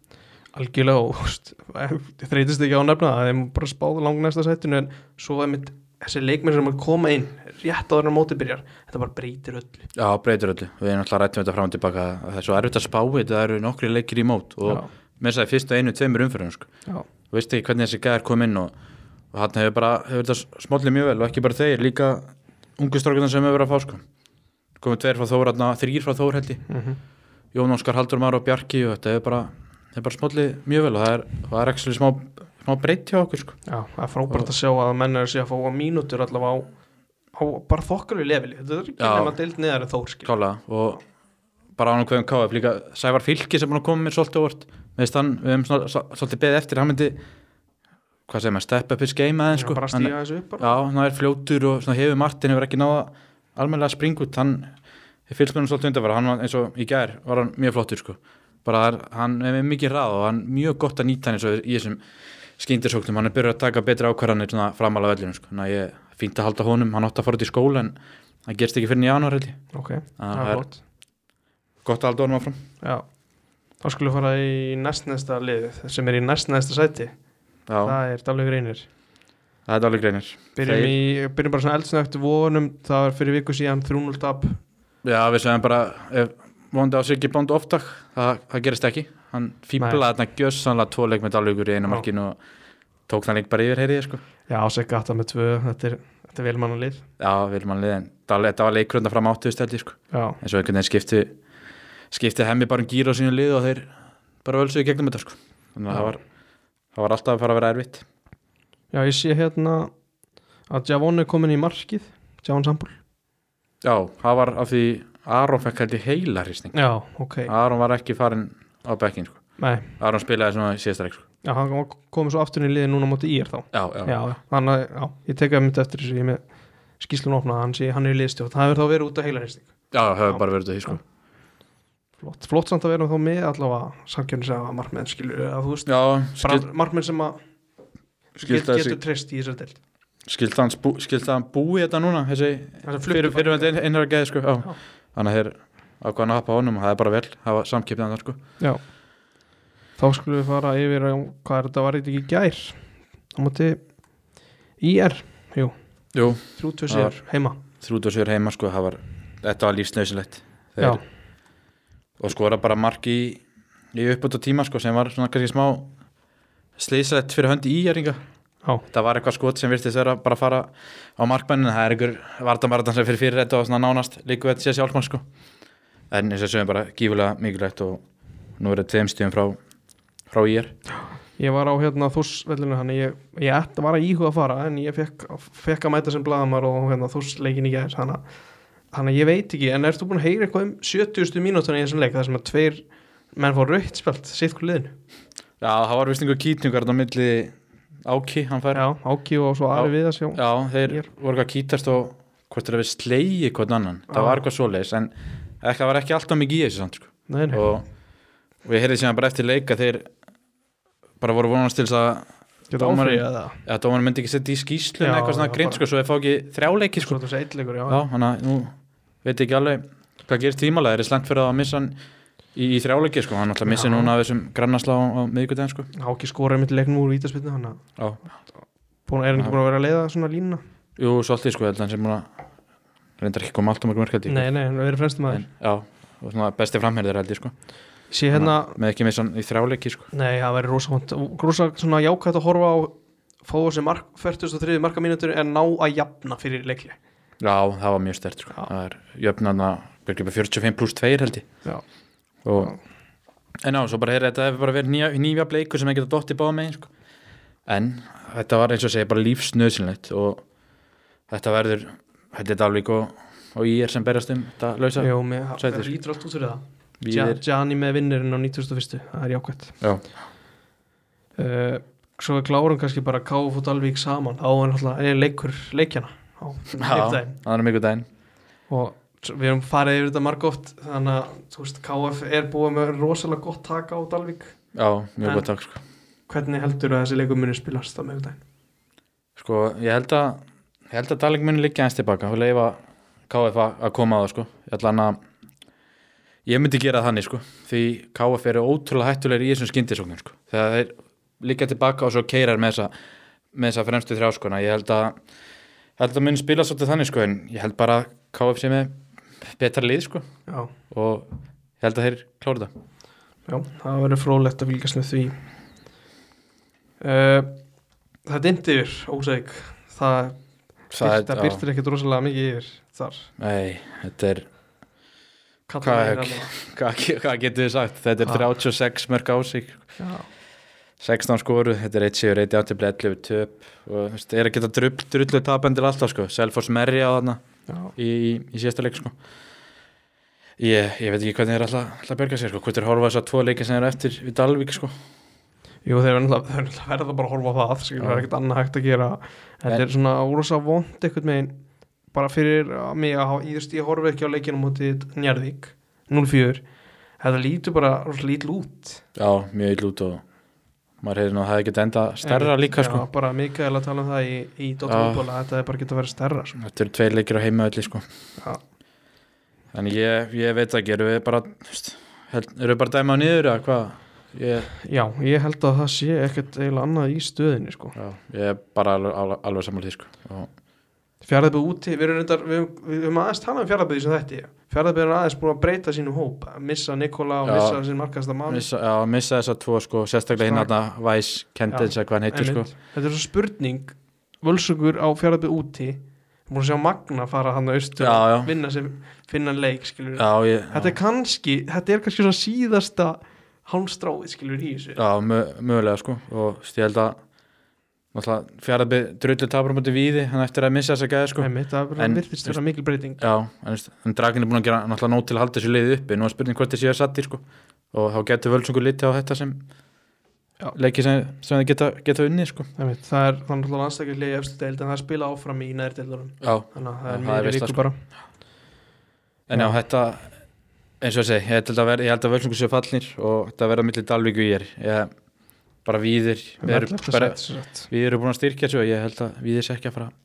algjörlega og úst, þreytist ekki á að nefna það, þeim bara spáðu lang næsta sættinu en svo er mitt þessi leikmenn sem er að koma inn rétt áður en mótið byrjar, þetta bara breytir öllu. já, breytir öllu, við erum alltaf rættum þetta fram og tilbaka að það er svo erfitt að spáu þetta það eru nokkri leikir í mót og Já. með þess að fyrstu einu tveimur umfyrir sko. Já, Þú veist ekki hvernig þessi gæðar kom inn og, og hann hefur bara, hefur þetta smollið mjög vel og ekki bara þeir, líka ungu strókunar sem hefur verið að fá sko komið tveir frá Þór, þarna, þrýr frá Þór held ég Jón Óskar Haldur Már og Bjarki og þetta hefur bara, hefur bara smollið mjög vel og það er, það er ekki smá, smá breytt hjá okkur sko já, það er frábært að sjá að menn er sér að fá mínútur allavega á, á bara þokkar við lefili, þetta er ekki Já. Sko, nefn að deild neðar en þór, skil. klálega og bara ánum hverjum KF líka Sævar Fylki sem er búin að koma mér svolítið óvart meðist hann, við hefum svona- svo- svolítið beðið eftir hann myndi, hvað segir maður, step up his game aðeins sko, bara að hann, stíga þessu upp bara. já, hann er fljótur og svona hefur Martin hefur ekki náða almennilega springa út, hann ég fylgst með hann svolítið undanfæra, hann var eins og í gær var hann mjög flottur sko, bara það er, hann er með mikið ráð og hann er mjög gott að nýta hann eins og í þessum skyndirsóknum, hann er byrjað að taka betri ákvarðanir svona framalega vellinu sko, þannig að ég fínt að halda honum, hann átti að fara út í skóla en hann gerst ekki fyrir nýjanúar held ég Ok, það það er er flott. gott að halda honum áfram Já, þá skulum við fara í næstnæsta lið sem er í næstnæsta sæti, já, það, það er Dalvik Reynir. er alveg greinir Byrjum, Þeir- í, byrjum bara svona eldsnögt vonum, það var fyrir viku síðan 3-0 tap já, við segjum bara ef vondi á sig ekki bónd oftak það, það gerist ekki, hann fýblaði þarna gjössanlega tvo leik með dalvíkur í einu Já. markinu og tók þann leik bara yfir, heyrði ég sko Já, Sekka átta með tvö, þetta er, þetta er velmannalið já, vil mann liðin, Dal- þetta var leikrunda fram áttuðu steldi sko, Já, eins og einhvern veginn skipti skipti hemmi bara um gýr á sínu lið og þeir bara völsuðu í gegnum þetta sko þannig að það var, það var alltaf að fara að vera erfitt já ég sé hérna að Javon er komin í markið Javon Sambúl já, það var af því Aron fekk held í heilarýsning Já, ok Aron var ekki farin á bekkin sko. Nei, Aron spilaði svona síðasta reik sko. já, hann komið svo aftur inn í liðin núna móti í er þá já, já, Já, já, hann, að- já, ég tek að mynda eftir þessu ég er með skýslun opnað, hann sé, hann er í liðstjóð það hefur þá verið út af heilarýsting já, það hefur bara verið því sko. flott, flott samt að vera þá með allavega samkjörnum sem að markmenn skilur að þú veist, já, bara skil, markmenn sem að get, skilta, getur þessi, treyst í þessar deild skilta, hans bú, skilta hann búi þetta núna þessi Þessar fluttu fyrir, fyrir bara- með einhverja geði sko. Já. já. þannig að þeir ákvæðan að hoppa á honum og það er bara vel, hafa samkipið hann sko. Já Þá skulum við fara yfir á hvað er þetta var eitthvað ekki í gær á móti IR jú, 32 Það sigur heima þrjútu sigur heima sko, það var, þetta var lífsnausilegt Já, og skora bara mark í, í uppbúta tíma sko, sem var svona kannski smá sleysalegt fyrir hönd í jæringa Já. það var eitthvað skot sem virtist vera bara að fara á markmanninu, það er einhver vartamarðan sem fyrir fyrir þetta og svona nánast líku þetta sé sjálfmann sko en eins og sem er bara gífulega mikilvægt og nú er þetta tveim stíðum frá frá í er ég var á hérna þúsvellinu hann ég, ég ætti var að íhuga að fara en ég fekk, fekk að mæta sem blaðamar og hérna þúsleikin í gær þannig að- þannig að ég veit ekki en ertu búin að heyra eitthvað um 70. mínútur í þessum leik þar sem að tveir menn fór rautt spjald sitt hver liðinu já, það var vist einhver kýtningar á milli Áki, hann fær Já, Áki og svo Ari við að sjá Já, þeir Ég er- voru eitthvað að kýtast og hvort er að við slegi hvort annan Já. það var eitthvað svoleiðis en það var ekki alltaf mikið í þessu samt sko Nei, nei, og, og ég heyrði síðan bara eftir leika þeir bara voru vonast til þess að geta dómarinn- áfrýjað það að dómarinn myndi ekki setja í skýslu Já, eitthvað svona já, greint bara- sko, svo þeir fá ekki þrjáleiki sko. Svo þessi eitlegur, já, já, hann að nú veit ég ekki alveg hvað gerist tímalega, þeir er slengt fyrir það að missa hann í, í þrjáleiki, sko, hann alltaf missi Já. núna af þessum grannaslá á, á miðvikudaginn, sko Áki skoraði mitt leiknum úr vítaspilnu hann að já, búin, er hann Já. ekki búin að vera að leiða svona lína jú, svolítið, sko, ég held að hann sem múna reyndar ekki koma alltaf mörg mörgæti Nei, nei, hann verið fremstum aður en, já, og svona besti framherðir held ég, sko Sér hérna, með ekki missa hann í þrjáleiki, sko nei, það verið rosa hónd rosa svona jákvæmt að horfa á fá þessi mark, 43 marka mínútur en ná að jafna fyrir leikli já, það var mjög stert, sko Já. það er jöfnana, 45 pluss 2 held ég Já, og, en á, svo bara heyrði þetta hefur bara verið nýja, nýja bleikur sem ekki að dotti báða megin sko. en þetta var eins og segja bara lífsnöðsynlegt og þetta verður þetta er Dalvík og, og ég er sem berjast um þetta lausa Jú, mér, það Sætir. lítur allt út fyrir það Víðir- Gia- Gianni með vinnurinn á 91. Það er jákvæmt já, uh, Svo við klárum kannski bara KF og Dalvík saman á en alltaf er leikur leikjana á já, leikdæðin það er mikið daginn og s- við erum farið yfir þetta margótt þannig að þú veist, KF er búið með rosalega gott taka á Dalvík já, mjög En- gott takk sko. hvernig heldur að þessi leikum muni spilast á miðugdæn sko, ég held að ég held að Dalvík muni liggja eins tilbaka og leifa KF að að koma á það sko. ég ætla hann að ég myndi gera það þannig sko því KF eru ótrúlega hættulegir í þessum skyndisóknum sko þegar þeir líka tilbaka og svo keirar með þessa með þessa fremstu þrjá sko en ég held að held að mun spila svolítið þannig sko en ég held bara að KF sem er betra lið sko já, og ég held að þeir klára það já, það verður frólægt að fylgjast með því uh, það dindi yfir Ósæk það, er- það já, byrtir ekkert rosalega mikið yfir þar Nei, þetta er Kallar Hvað- er allavega. hvað, hvað getur þið sagt þetta er Hvað? 36 mörg á sig Já. 16 skoru, þetta er 1 sigur, 1 játtifli 11 töp og þú veist, er að geta drull, drullu tapendil alltaf sko, Selfoss merja á þarna já, í, í, í síðasta leik sko. ég, ég veit ekki hvernig þeir alltaf, alltaf berga sér sko. hvort þeir horfa þess að tvo leiki sem eru eftir við Dalvík sko. Jú, þeir verða náttúrulega- þeir verða verða bara að horfa á það skilur, það er Já. ekkert annað hægt að gera þetta En- er svona órosa vond einhvern megin bara fyrir að mig að hafa- ég, þú veist, ég horfi ekki á leikinu múti Njarðvík 0-4 þetta lítur bara rosa lítil út já, mjög ill út og maður hefði nú að það hefði geta enda stærra líka sko. Já, bara Mikael að tala um það í, í Já. Dóttarúbóla, þetta er bara geta að vera stærra sko. þetta eru tveir leikir á heimaölli sko. Já. en ég, ég veit ekki eru við bara þú veist, held- eru við bara að dæma á niður eða hvað ég, Já, ég held að það sé ekkert eiginlega annað í stöðinni sko. já, ég er bara alveg, alveg, alveg sammála því sko. og Fjaraðbyrð úti, við erum, reyndar, við, við erum aðeins talað um fjaraðbyrð sem þetta Fjaraðbyrð er aðeins búin að breyta sínum hóp að missa Nikola og Já. missa sín markasta mann missa, já, missa þessa tvo sko, sérstaklega hinn Snak. hérna Væs, Kendins eða hvað hann heitir sko. Einmitt. Þetta er svo spurning Völsugur á fjárðabíð úti Við múlum sjá Magna fara hann að austur Já, já. og Vinna sem finna leik skilur já, ég, Þetta er kannski Þetta er kannski svona síðasta hálmstráið skilur í þessu já, mö- mögulega sko og þú veist, ég held að náttúrulega fjaraðbyrð drullu tapur á móti víði hann eftir að missa þessa gæði sko Einmitt, það bara En- virðist vera mikil breyting já, en, veist, en drakin er búin að gera náttúrulega nót til að halda þessu liðið uppi, nú er spurning hvort þessi er sattir sko og þá getur völsungur litið á þetta sem Já. leiki sem, sem þið geta, geta unnið sko Einmitt, það er þannig að landstakir liði efstu deild en það er spila áfram í næri deildunum já, þannig Já, að það það er er meiri veisla, viku sko. bara en já, Já. þetta eins og ég segi, ég held að, ver, ég held að völsungur séu fallnir og þetta verða millir Dalvík og ég er bara víðir Við erum ellefta bara, sæti, sem sagt. við erum búin að styrkja þessu og ég held að víðir sé ekki að fara að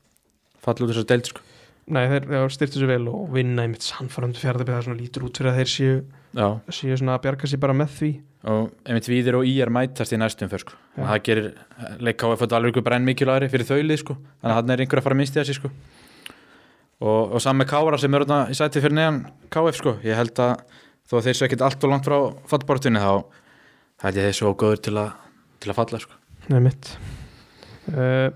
falla út þessu deild sko Nei, þeir, þeir styrtu sér vel og vinna einmitt sannfærandu fjárðabíð það er svona lítur út fyrir að þeir séu, já, séu svona að bjarga sér bara með því og einmitt viðir og íjar mætast í næstum fyrr sko. Já. og það gerir leikkáf að alveg ykkur brenn mikilværi fyrir þaulið sko. þannig að hann er einhver að fara að misti þessi sko. og, og samme Kára sem er þarna í sæti fyrir neðan KF sko. ég held að þó að þeir svo ekkert allt og langt frá fallbortinni þá held ég þeir svo góður til að, til að falla sko. Nei, mitt uh,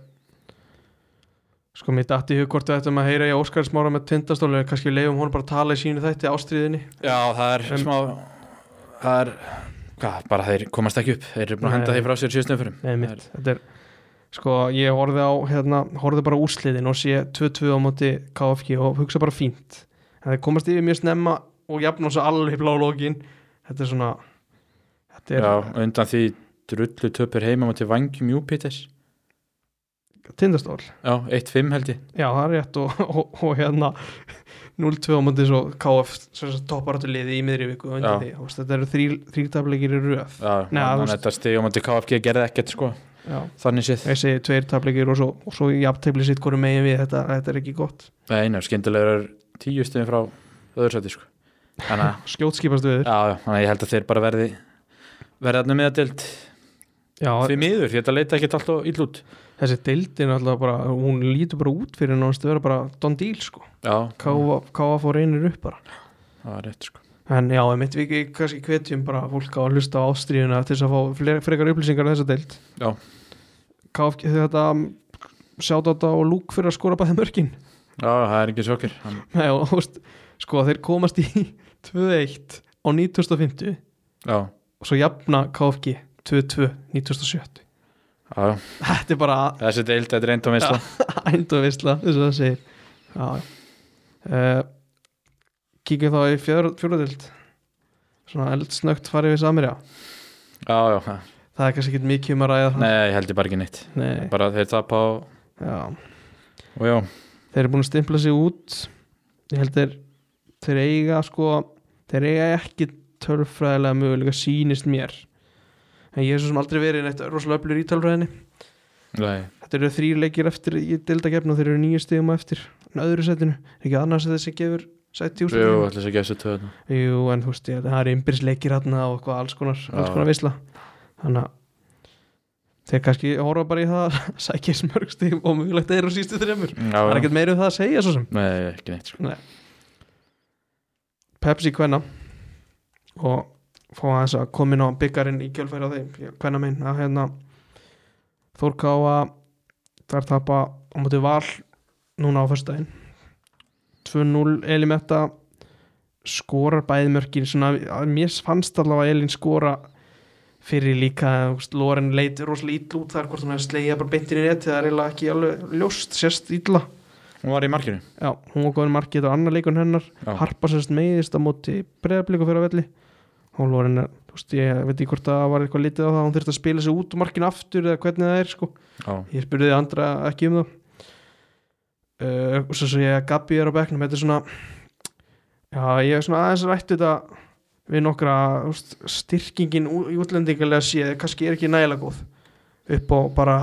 Sko, mér datti í hug hvort við ættum að heyra í Óskarsmára með tindastólu kannski leifum hún bara að tala í sínu þætti ástriðinni já það er En- smá það er hvað, bara þeir komast ekki upp þeir eru búin að henda Nei. þeir frá sér síðustum fyrir Nei, mitt, þetta er Sko, ég horfði á, hérna, horfði bara á úrsliðin og sé 2-2 á móti KFG og hugsa bara fínt en þeir komast yfir mjög snemma og jafn og svo alveg blá lókin Þetta er svona Þetta er já, og undan því drullu töpur heima til vangjum Júpiters tindastól já, 1-5 held ég Já, það er rétt og, og, og hérna 0-2 á móti svo KF sem sagt topparáttu liði í miðri viku og undan Já. því, þú veist, þetta eru þrýrtableikir í röð Já, Nei, þú hann veist- þetta stig á móti KFG gerði ekkert sko, Já, þannig séð þessi tveir tableikir og svo, og svo jafntefli sitt hvorum megin við þetta, þetta er ekki gott Nei, ná, skyndilega er tíu stigum frá öðru sæti sko Þannig að, Skjótskipast við já, já, þannig að ég held að þeir bara verði verði þarna miðadild Já, því miður, því þetta leita ekkert alltaf ill út þessi deildin alltaf bara, hún lítur bara út fyrir nánast að vera bara Don Deal sko Já, Káa Káa fór einir upp bara það var rétt sko en já, ég mitt við ekki kannski hvetjum bara fólk á að hlusta á ástríðuna til þess að fá fle- frekar upplýsingar á þessa deild Já. KFG þetta sjátt á þetta og lúk fyrir að skora bara þeim örkin Já, það er ekki sjokkir Hann- Nei, og, þú veist, sko þeir komast í 2-1 á 1950 Já, og svo jafna KFG 2-2 1970 já, já. þetta er bara þessi deild, þetta er einn tómið Já, Ændavisla, þess að það segir Já, já uh, Kíkjum þá í fjóruðild Svona eldsnögt farið við Samirja já, já. Það er kannski ekkert mikið um að ræða það nei, ég held ég bara ekki neitt Nei, bara þeir tapa á, já og já, Þeir eru búin að stimpla sig út Ég held þeir Þeir eiga sko Þeir eiga ekki tölfræðilega möguleika sýnist mér En ég er svo sem aldrei verið neitt rosalega öflur í tölfræðinni nei, Þetta eru þrýr leikir eftir í dildakefn og þeir eru nýju stigum á eftir en öðru setinu, er ekki annars að þessi gefur sætti úr jú, ætlis að gefa sér töð Jú, en þú veist, ég, það er ymbrisleikir hérna og eitthvað alls konar, alls Já. konar veisla Þannig að þeir kannski horfa bara í það að sækja smörgstíf og mögulegt þeir á sístu þremur Það er Já, já, ekkert meira um það að segja svo sem nei, ekki neitt sko Pepsi kvenna og fá aðeins að koma inn á byggarinn í kjölfæri á þeim kvenna minn að hérna Þórkáa þar tapa á móti val núna á föstudaginn 2-0 Elimetta skorar bæði mörkin svona, að mér fannst allavega Elin skora fyrir líka þú veist, Loren leit rosalega ítl út þar hvort hún hefði slegið bara beintin í neti það er eiginlega ekki alveg ljóst sérst ítla Hún var í markinu Já, hún var góðin markið á annar leikun hennar Já. Harpa sérst meiðist á móti breyðabliku fyrir að velli og Lórin, er, þú veist, ég veit ekki hvort það var eitthvað litið á það, hún þurfti að spila sig út úr markinu aftur eða hvernig það er, sko Já, ég spurði andra ekki um það uh, og svo svo ég að Gabi er á bekknum, þetta er svona já, ég er svona aðeins rætt þetta við nokkra þú veist, styrkingin ú- í útlendingalega séð kannski er ekki nægilega góð upp á bara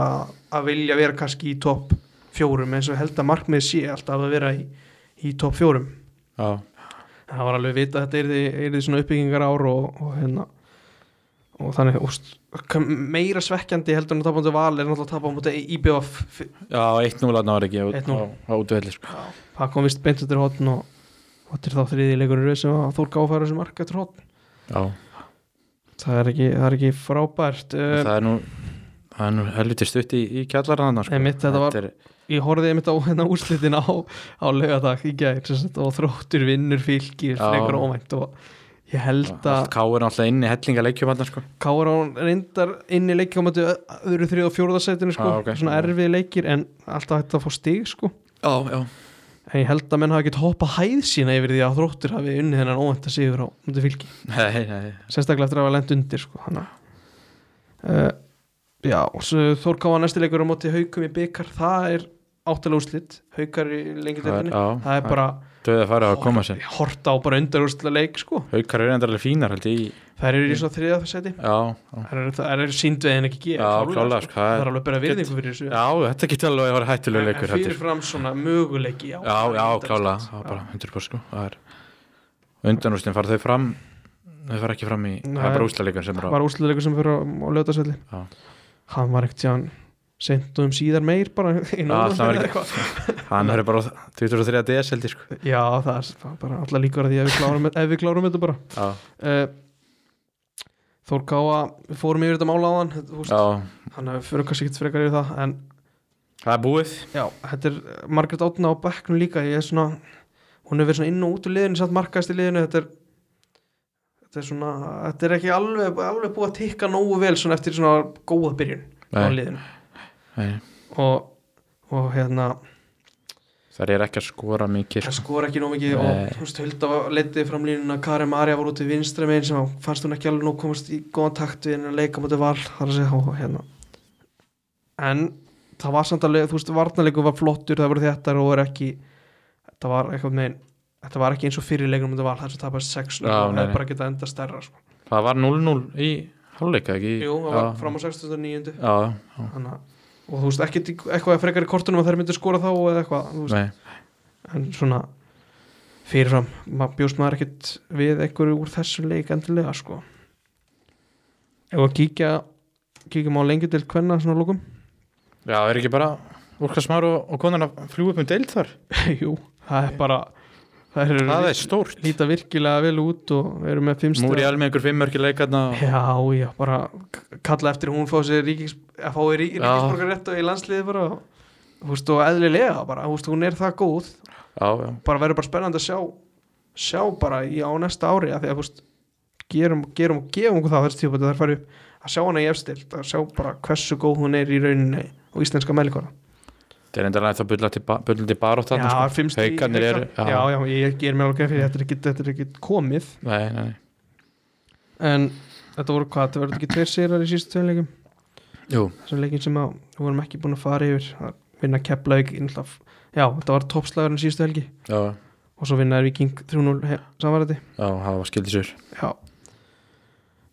að vilja vera kannski í topp fjórum eins og ég held að markmið sé alltaf að vera í, í topp fjórum já, það var alveg vita að þetta er því, er því svona uppbyggingar ár og, og hérna og þannig úst, meira svekkjandi heldur en að tapa á mútið val er náttúrulega að tapa á mútið IBF já 1-0 að náður ekki á, 1-0. á, á útvelli sko það kom vist beint eftir hotn og hotn er þá þriði leikurinn rauð sem að Þór gáfæra þessu mark eftir hotn Já, það er ekki, það er ekki frábært En uh, það er nú það er nú helviti stutt í, í kjallarana sko. Einmitt, þetta var- er, ég horfði einmitt á hérna úrslitin á, á laugadag í gær sem sagt, og þróttur vinnur fylgir Já. frekar óvænt og Ég held að Káur er alltaf inn í hellinga leikjum hann sko. Káur án reyndar inn í leiki á mæti öðru þrið og fjórðarsætinu sko, Ah, ok. svona erfið leikir en alltaf hægt að fá stig sko Já, já en ég held að menn hafa gett hoppað hæð sína yfir því að þróttur hafi unnið hennan óvænta sigur á múti fylki, Nei, nei, sérstaklega eftir að hafa lent undir sko, hana uh, Já, og svo Þórkáfa næstileikur á móti haukum í byggar, það er áttalega úrslit, haukar í lengi Það er- definni, já, það það er bara döðið að fara að koma sér horta á bara undar úrslit leik sko, Haukar eru endur alveg fínar held ég í þær eru í svo þriðafæsæti Já, já, þær eru, þær eru síndvegin ekki já geð klálega sko. það það er er- alveg bara virðingu fyrir þessu Já, þetta getur alveg að vera hættulega leikur held ég, sko. fyrirfram svona möguleiki Já, á- já, undanúrslit. klálega, það var bara 100% sko Það er undanústin, fara þau fram þau fara ekki fram í, Nei. það er bara úslaleikur sem er á var úsliðleikur sem fyrir á, á löðarsvelli Já. hann var ekkert síðan seint og um síðar meir bara í það var norðan ekki- hann verður bara á 23. DS held ég sko já það er það var bara alla líkur að því ef við klárum, ef við klárum þetta bara Já, uh, Þór Káa við fórum yfir þetta mála á hann já, hann fyrir kannski ekkert frekar yfir það en það er búið já, þetta er eh, Margrét Átna á bekknum líka ég er svona, hún hefur verið svona inn og út úr liðinu samt markaðist í liðinu þetta er, þetta er svona, þetta er ekki alveg, alveg búið að tikka nógu vel svona eftir svona góða byrjun á Nei, liðinu nei, og, og hérna það er ekki að skora mikið það sko. skor ekki nóg mikið Nei. og þú veist, Hulda letiði fram línuna Karim Arja var út í vinstra megin sem þá fannst hún ekki alveg nóg komast í góðan takt við henni að leika mútið val þar að segja hó, hérna en það var samt alveg, þú veist, varnarleikum var flottur það voru þetta og er ekki þetta var eitthvað megin þetta var ekki eins og fyrir leikum mútið val þar sem tapast 6 Já, og nei, það nei. er bara getað enda stærra sko. Það var 0-0 í hálfleika ekki? í- jú, það var Já. fram á 69 Já, Þannig að- og þú veist, ekkert í- eitthvað frekar í kortunum að þær myndu skora þá eða eitthvað, þú veist, nei, en svona fyrirfram, maður bjóst maður ekkert við einhverju úr þessu leik endilega sko ef að kíkja kíkjum á lengi til hvenna svona lókum já, er ekki bara Úrka Smár og, og konan að fljú upp um deild þar jú, það er bara það eru Það er stórt líta virkilega vel út og við erum með fimmst Múri alveg einhver fimmörki leikarna og... já, já, bara k- kalla eftir að hún fá sér ríkings, að fái rí, Já. ríkingsborgarrétt og í landsliði bara þú veist, og eðlilega bara, þú veist, hún er það góð Já, já, bara verður bara spennandi að sjá sjá bara í, á næsta ári að því að þú veist, gerum, gerum og gefum okkur það þessi tíðbæti þar farið upp að sjá hana í efstilt að sjá bara hversu góð hún er í rauninni og íslenska meðlikora það er endalega það bullandi bullandi barótt þarna, sko. Haukarnir eru já, já, ég ger mér alveg grein fyrir því, þetta er ekki, þetta er ekki komið Nei, nei, nei. en þetta voru hvað, þetta verður ekki tveir sérar í sístu tveileikum Jú, þessum leikin sem að, við vorum ekki búin að fara yfir að vinna Keflavík innlaf. já, þetta var toppslagurinn sístu helgi já, og svo vinnaði Viking 3-0 he- samvarandi já, það var skildið sér Já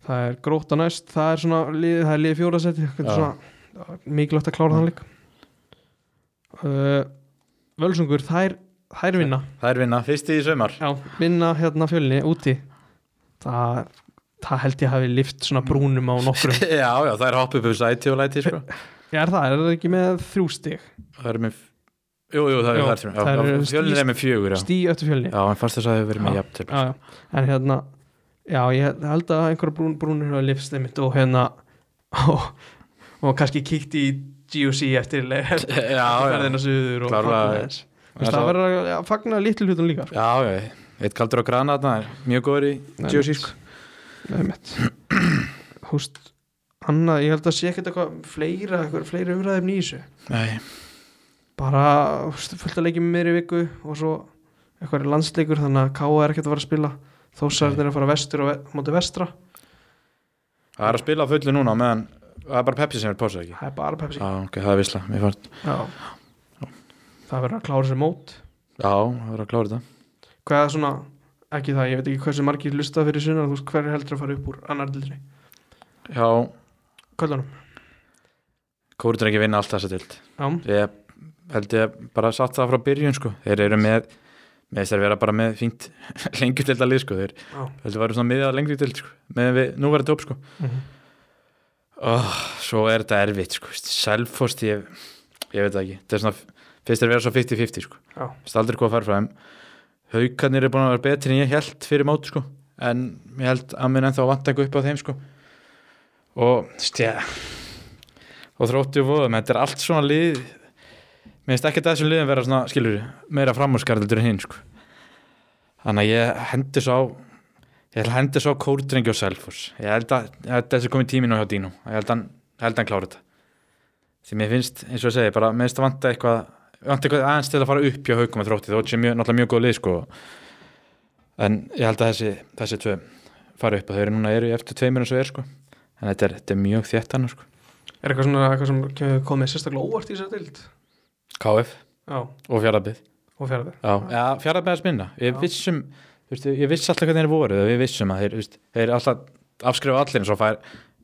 Það er gróta næst, það er svona lið, það er liðið fjóraðsæti, þetta Já. er svona já, mikilvægt að klára þann leik uh, Völsungur, þær, þær vinna Það er vinna, fyrst í sömar Já, vinna hérna fjölni úti það, það held ég hafi lift svona brúnum á nokkrum Já, já, það er hopp upp um sæti og læti sko. Já, er það, er það ekki með þrjú stig Það er með Jú, jú, það er Jú, þar sem það eru Fjölnir stíst- er með fjögur, já stíu öttu fjölni Já, en fast þess að það hefur verið með jafn til já, já. en hérna já, ég held að einhverja brún, brúnur hafa lifst einmitt og hérna og, og kannski kíkt í GOC eftir leik já, ferðina sko. suður og Klárlega. fagna þess Þú veist, það já verður að að fagna litlu hlutum líka sko. Já, já, eitt kaldur á grana þarna er Mjög góður í Nei, GOC, mitt. sko Nei, mitt. Þú veist, annað, ég held að sé ekkert eitthvað fleira, eitthvað fleira umræðum í þessu Nei, bara þú veist, fullt að leikja með mér í viku og svo eitthvað er landsleikur þannig að K.A. er ekkert að fara að spila þósarðin er að fara vestur og ve móti vestra það er að spila á fullu núna á meðan Það er bara Pepsi sem er posað, ekki það er bara pepsi Já, ok, það er visla, mér fannst Já. það verður að klára sér mót Já, það verður að klára þetta hvað er svona, ekki það, ég veit ekki hversu margir lusta fyrir sunnar, þú veist hver er heldur að fara upp úr annar dildri, Já, köllunum Kóruður ekki vinna allt þessa dild Já. ég held ég bara að satt það frá byrjun sko. þeir eru með með þess að vera bara með fínt lengjuteld að lið sko. þeir Já. heldur að vera svona miðað lengjuteld sko. með við núverandi upp sko. Mhm. oh, svo er þetta erfitt sko. selfost ég, ég veit það ekki þetta er svona, finnst þeir vera svo 50-50 sko. Já. finnst aldrei hvað að fara frá þeim haukarnir eru búin að vera betri en ég held fyrir mót sko. en ég held að minn ennþá vant eitthvað upp á þeim sko. og stjá og þrótti og voðum, þetta er allt svona lið mér finnst ekki að þessum liðum vera svona, skilur, meira framúrskarðildur en hinn sko. þannig að ég hendi svo á Ég held að hendi svo kórdrengi og selfurs. Ég held að ég held að þessi komið tími nú hjá Dino. Ég held að hann, ég held að hann klára þetta. Því mér finnst, eins og ég segi, bara mér finnst að vanta eitthvað, vanta eitthvað aðeins til að fara upp hjá haugum að þrótti. Þótt sé mjög, náttúrulega mjög góð lið, sko. En ég held að þessi, þessi tvö fara upp og þau eru núna eru í eftir tveimur eins og er, sko. En þetta er, þetta er mjög þétt hann, sko. Er eitthvað svona eitthvað sem kemur- kom með sérstaklega óvart í þessar dild? KF Já, og Fjarlabið. og fjaraði. Já, ja, Fjarlabið er sminna. Ég Já. vissum, þú veist, ég viss alltaf hvernig þeir voru, við vissum að þeir, þú veist, þeir alltaf afskrifa allir eins og fær,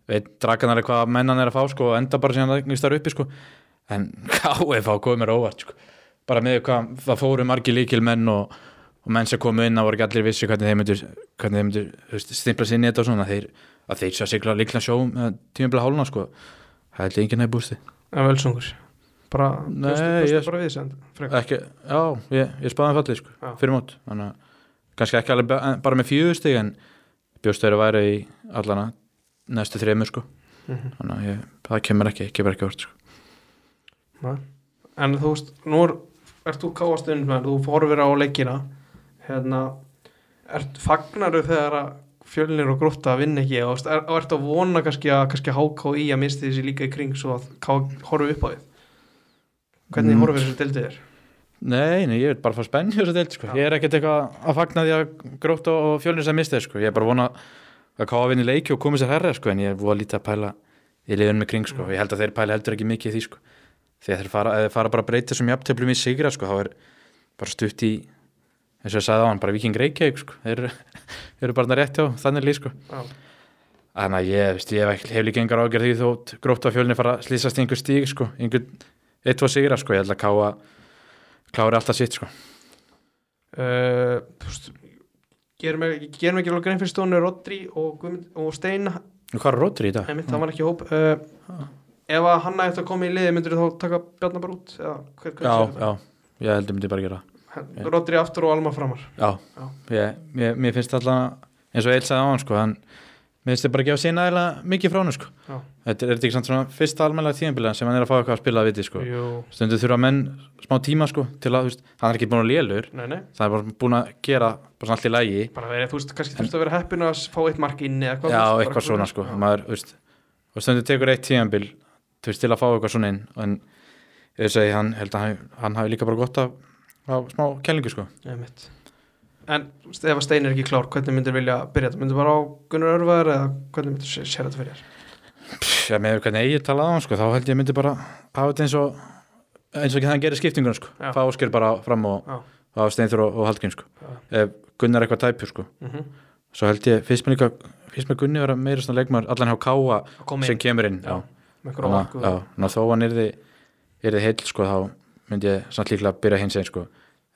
veit, draganar er hvað mennan er að fá, sko, og enda bara síðan einhvers þar uppi, sko. En KF á komið mér á óvart, sko. Bara með hvað, það fóru margir líkil menn og, og menn sem komu inn og voru ekki allir vissi hvernig þeir myndu, hvernig þeir myndu, þú veist, stimpla sinni þetta og svona, þeir, að þeir sér sigla líkla sjó tímabla háluna, sko. Það held ég enginn að bústi. En völsungur. Bara, Nei, bjóstu, ég- bjóstu bara við send. Frekar. ekki, já, ég, ég spáði hann fallið sko, Já. fyrir mót þannig að kannski ekki alveg ba- en- bara með fjögur stig en bjóst þeirra væri í allana næstu þreymur sko Mhm. þannig að ég, það kemur ekki, kemur ekki vort sko. Nei. En þú veist, nú er, ert þú káastund með, þú horfir á leikina, hérna, ert fagnaru þegar að fjölnir og grótta vinna ekki og, veist, er, og ert að vona kannski að kannski háká í að misti þessi líka í kring svo að ká, horfi upp á þið hvernig Mm. mm. horfir þessu dildið er nei, nei, ég vil bara fá spenni þessu deild sko, Já. ég er ekkert eitthvað að fagna því að grótt og, og fjölnir sem misti sko, ég er bara að vona að káða vinni leiki og komið sér herra sko, en ég er voða lítið að pæla í liðunum í kring sko, ég held að þeir pæla heldur ekki mikið í því sko, þegar þeir fara, ef þeir fara bara að breyta þessum jafntöflum í sigra sko, þá er bara stutt í eins og ég sagði á hann, bara viking reykjavík sko, þeir eru- þeir eru bara þarna rétt hjá þannig líð sko, Já. þannig að ég, veist, ég hef, ekki- hef líka engar ágjör því þótt grótt á fjölni fara að slýsast í einhver stíg sko, einhver, eitt, tvo sigra sko, ég held að káa klára alltaf sitt sko uh, þú veist gerum ekki, gerum ekki alveg grein fyrir stónu Rodri og, Guðmund- og Steina Nú, Hvað er Rodri í dag? einmitt, það var ekki í hóp uh, ef að hann ætti að koma í liði myndur þá taka Bjarnar bara út eða hver, hver Já, sér þetta? já, ég held að myndi bara gera það. Hann- Rodri aftur og Alma framar Já, Já. Ég, ég, mér finnst alltaf eins og Eil sagði á hann sko, hann mér finnst þið bara að gefa sína eða mikið frá hann sko. Já. Þetta er, er þetta ekki samt svona fyrsta almennlega tíðanbíla sem hann er að fá eitthvað að spila að viti sko. Jú. Stundu þurfa menn smá tíma sko til að, þú veist, hann er ekki búin að lélur, nei, nei, það er bara búin að gera bara svona allt í lægi, bara verið, þú veist, kannski þurftu að vera heppin að s- fá eitt mark inn eða já, þú veist, bara eitthvað svona sko, já. maður, þú veist, og stundu tekur eitt tíðanbíl, þú veist, til að fá eitthvað svona inn, en ég segi, hann held að hann, hann hafi líka bara gott af, af smá kellingu sko. Einmitt. en þú veist, ef að Stein er ekki klár hvernig myndur vilja byrja þetta, myndur bara á Gunnar Örvar eða hvernig myndur sér, sér þetta fyrir þér Pff, Já, með hvernig eigið talaði á hann sko, þá held ég myndi bara hafa þetta eins og eins og ekki hann gerir skiptingun sko, Já. fá Óskir bara fram og Já. hafa Steinþur og, og Haldgrim sko, ef Gunnar er eitthvað tæpur sko, mm svo held ég, finnst mér líka finnst mér Gunni vera meira svona leikmar allan hjá Káa að koma sem inn kemur inn Já, þannig með gróða að- já, þannig að þó hann yrði yrði heill sko, þá myndi ég samt líklega byrja hins einn sko,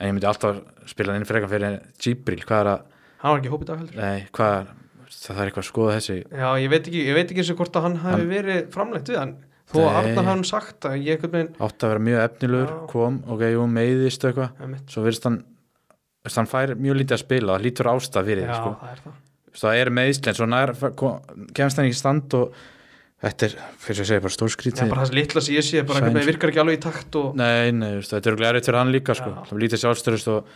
en ég myndi alltaf spila hann inn frekan fyrir Jibril, hvað er að hann var ekki í hóp í dag heldur nei, hvað er, það er eitthvað að skoða þessi já, ég veit ekki, ég veit ekki eins og hvort að hann hafi verið framleitt við hann þó að Nei. Arnar hann sagt að ég eitthvað meginn átt að vera mjög efnilegur, Já. kom, ok, jú, meiðist og eitthvað einmitt. svo verðist hann þú veist, hann fær mjög lítið að spila, það lítur ástaf fyrir því já, sko. það er það Þú veist, það er meðslinn, svo nær kom- kemst hann ekki í stand og þetta er, fyrir að segja, bara já, stórskrítið bara þessi litla sem ég sé, bara einhvern Sæns- veginn virkar ekki alveg í takt og nei, nei, þú veist, þetta er glæriðt fyrir hann líka sko. Já. það er lítið sjálfstörust og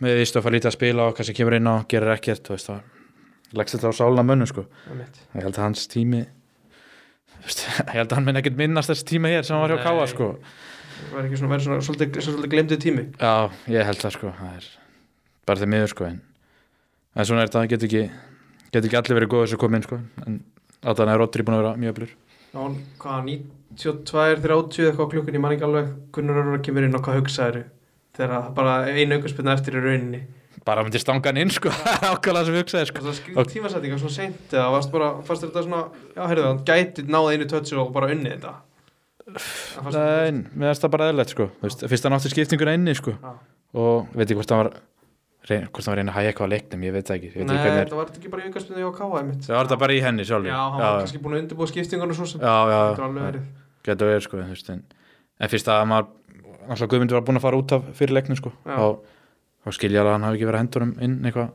meðist og fær lítið að spila og kannski kemur inn og gerir ekkert þú veist, það leggst þetta á sálna mönnu sko. einmitt. ég held að hans tími þú veist, ég held að hann minn ekkert minnast þess tíma hér sem hann var hjá Nei. Káa sko. Það var ekki svona, verið svona svolítið, svolítið glemdu tími Já, ég held það sko það er bara þeim miður sko en, en svona er þetta, get ekki get ekki allir verið góðið sem kom inn sko en alltaf er Rodri búin að vera mjög öflur Já, hann- hvað, 92, 30 eitthvað á klukkunni, ég man ekki alveg Gunnar Örvar kemur inn og hvað hugsaður þegar það bara einu aukurspunna eftir í rauninni bara myndi stanga hann inn sko ákvæmlega sem hugsaði og sko það skrið tímasettinga svona seint eða varst bara, fannst þér þetta svona já, heyrðu, hann gæti náði einu tötsu og bara unni þetta Það fannst þér- Nein, mér finnst það bara eðlægt sko Þú veist, fyrst hann átti skiptinguna inni sko Já. og veit ekki hvort hann var reyn, hvort hann var að reyna að hæja eitthvað á leiknum, ég veit það ekki, ég veit Nei, ekki hvernig er þetta var ekki bara í aukurspunna hjá K.A. mitt það var þetta bara í henni sjálf Já, hann var kannski búin að undirbúa skiptingarna svo sem já, já, Þetta var alveg já. verið getur verið sko þú veist, en, en fyrst að maður alltaf Guðmundur var búinn að fara út af fyrir leiknum sko Já. þá, þá skilja alveg að hann hafi ekki verið að hendur um inn eitthvað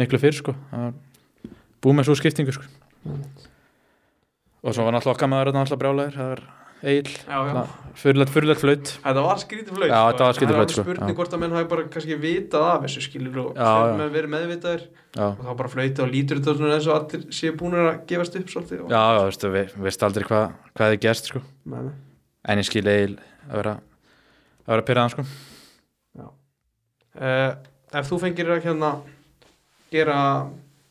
miklu fyrr sko Það var búið með svo skiptingu sko og svo var náttúrulega okkar maður þarna alltaf brjálæður það var Egil Já, já. Fyrirlegt, fyrirlegt flaut Þetta var skrítið flaut Já, sko. þetta var skrítið flaut, Það er alveg sko. spurning Já. hvort að menn hafi bara kannski vitað af þessu skilur og Já, já. sem menn verið meðvitaðir Já, og þá bara flauta og lítur þetta svona eins og allir séu búinir að gefast upp svolítið og... já, já veistu, við veist aldrei hvað hvað þið gerst sko Nei, nei. En ég skil Egil að vera að vera pyrraðan sko Eh, Ef þú fengir að hérna gera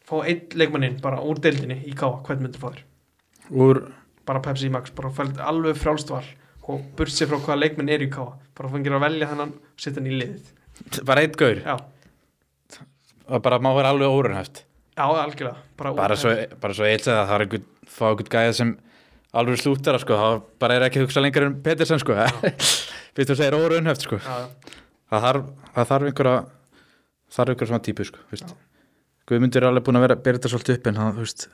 fá einn leikmanninn bara úr deildinni í káa, hvern myndir fá þér? Úr, Bara Pepsi Max, bara fælt alveg frjálst val og burt sér frá hvaða leikmenn er í káa bara fengir að velja hennan og setja hann í liðið bara einn gaur Já, Það bara má vera alveg órunhæft já algjörlega Bara, úr bara svo, Pepsi. bara svo Egil segði að það er einhvern fá einhvern gæða sem alveg slútara sko þá bara er ekki að hugsa lengur en Petersen sko Fyrst þú segir órunhæft sko Já, já. það þarf, það þarf einhverja þarf einhverja svona típu sko, veist. Guðmundur er alveg búin að vera að bera þetta svolítið upp en það, þú veist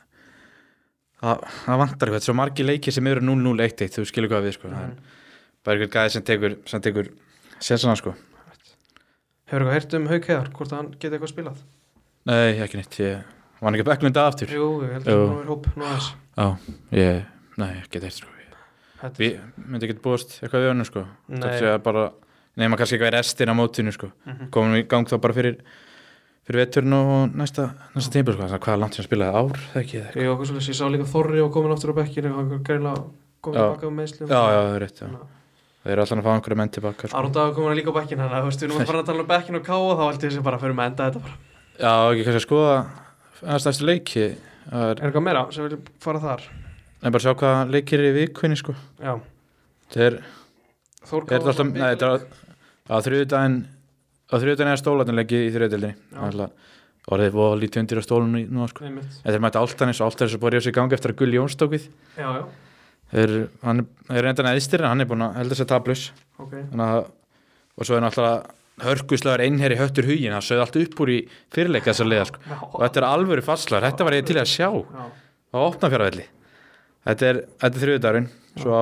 það, það vantar eitthvað, svo margi leiki sem eru 0-0-1-1, þú skilur hvað við sko það er bara einhver gæði sem tekur sem tekur sérsana sko Hefur eitthvað heyrt um Hauk Heiðar, hvort að hann geti eitthvað spilað? nei, ekki neitt, ég var hann ekki bekknunda aftur Jú, ég held Jú. að hann er hóp nú aðeins já, ég, nei, ekki neitt sko Ég- Þetta- við myndi ekki búast eitthvað við önum sko Nei. það sé að bara, nema kannski eitthvað í restin á mótinu sko, komum við í gang þá bara fyrir fyrir veturinn og næsta, næsta tímpil sko, Þannig að hvað er langt sem spilaði ár eða ekki, eða Ég, okkur svolítið, ég sá líka Þorri og komin aftur á bekkinu og hann greinlega komin Já. tilbaka um meðslum Já, já, það er rétt, já. Það er alltaf að fá einhverja menn tilbaka. Sko. Aron Dagur komin líka á bekkinu þannig að þú veist, við erum að fara að tala um bekkinu og káa þá held ég þessi bara fyrir með enda þetta bara Já, ekki kannski að skoða næsta eftir leiki. Það er, Er eitthvað meira sem vilja fara þar? nei, bara sjá hvaða leikir er í vikunni, sko. Já, Það er, Þór er alltaf, nei, þetta er að, að þriðudaginn, að þriðudaginn er stólatinleiki í þriðudildinni. Já. Það er alltaf, orðið voða lítið undir á stólunni núna, sko. Einmitt. Þetta er mæta áltanis og áltanis er búin að ríða sig í gangi eftir að Gull Jóns tók við. Já, já, Þeir, hann er reyndan eðstir en hann er búin að helda sér tablus. ok Þannig að, og svo er náttúrulega hörkuslagur einherri höttur hugin, það sögði allt upp úr í fyrirleika þessar liða, sko. og Já, þetta er alvöru fastlar, þetta var ég til að sjá á já, opnafjaravelli þetta er, þetta er þriðudagurinn svo á,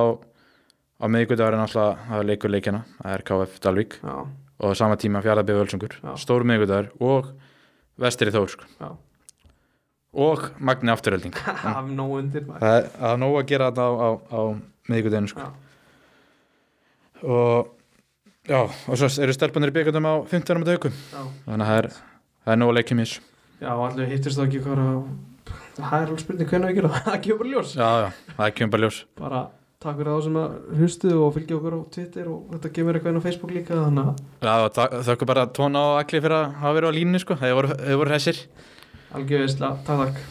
á miðgudagurinn alltaf það er leikur leikjana, það er KF Dalvík já, og á sama tíma fjaraðbyrð Völsungur Já. stór miðgudagur og vestri Þór sko. já og Magni Afturölding Það er nóg undir maður það er það er nóg að gera þetta á, á, á miðgudaginn sko. Já, og já, og svo eru stelpunir í byggandum á 15. mæta haukum já, þannig að það er, það er nóg að leikja mér já, allir hittist þá ekki hvað Það er alveg spurning hvernig við gerum það, það kemur bara í ljós já, já, það er kjömbar ljós bara takk fyrir þá sem að hlustu og fylgja okkur á Twitter og þetta kemur eitthvað inn á Facebook líka þannig að Já, þakku bara tóna og allir fyrir að hafa verið á línni sko, þeir voru, þeir voru hressir. algjörðislega, takk takk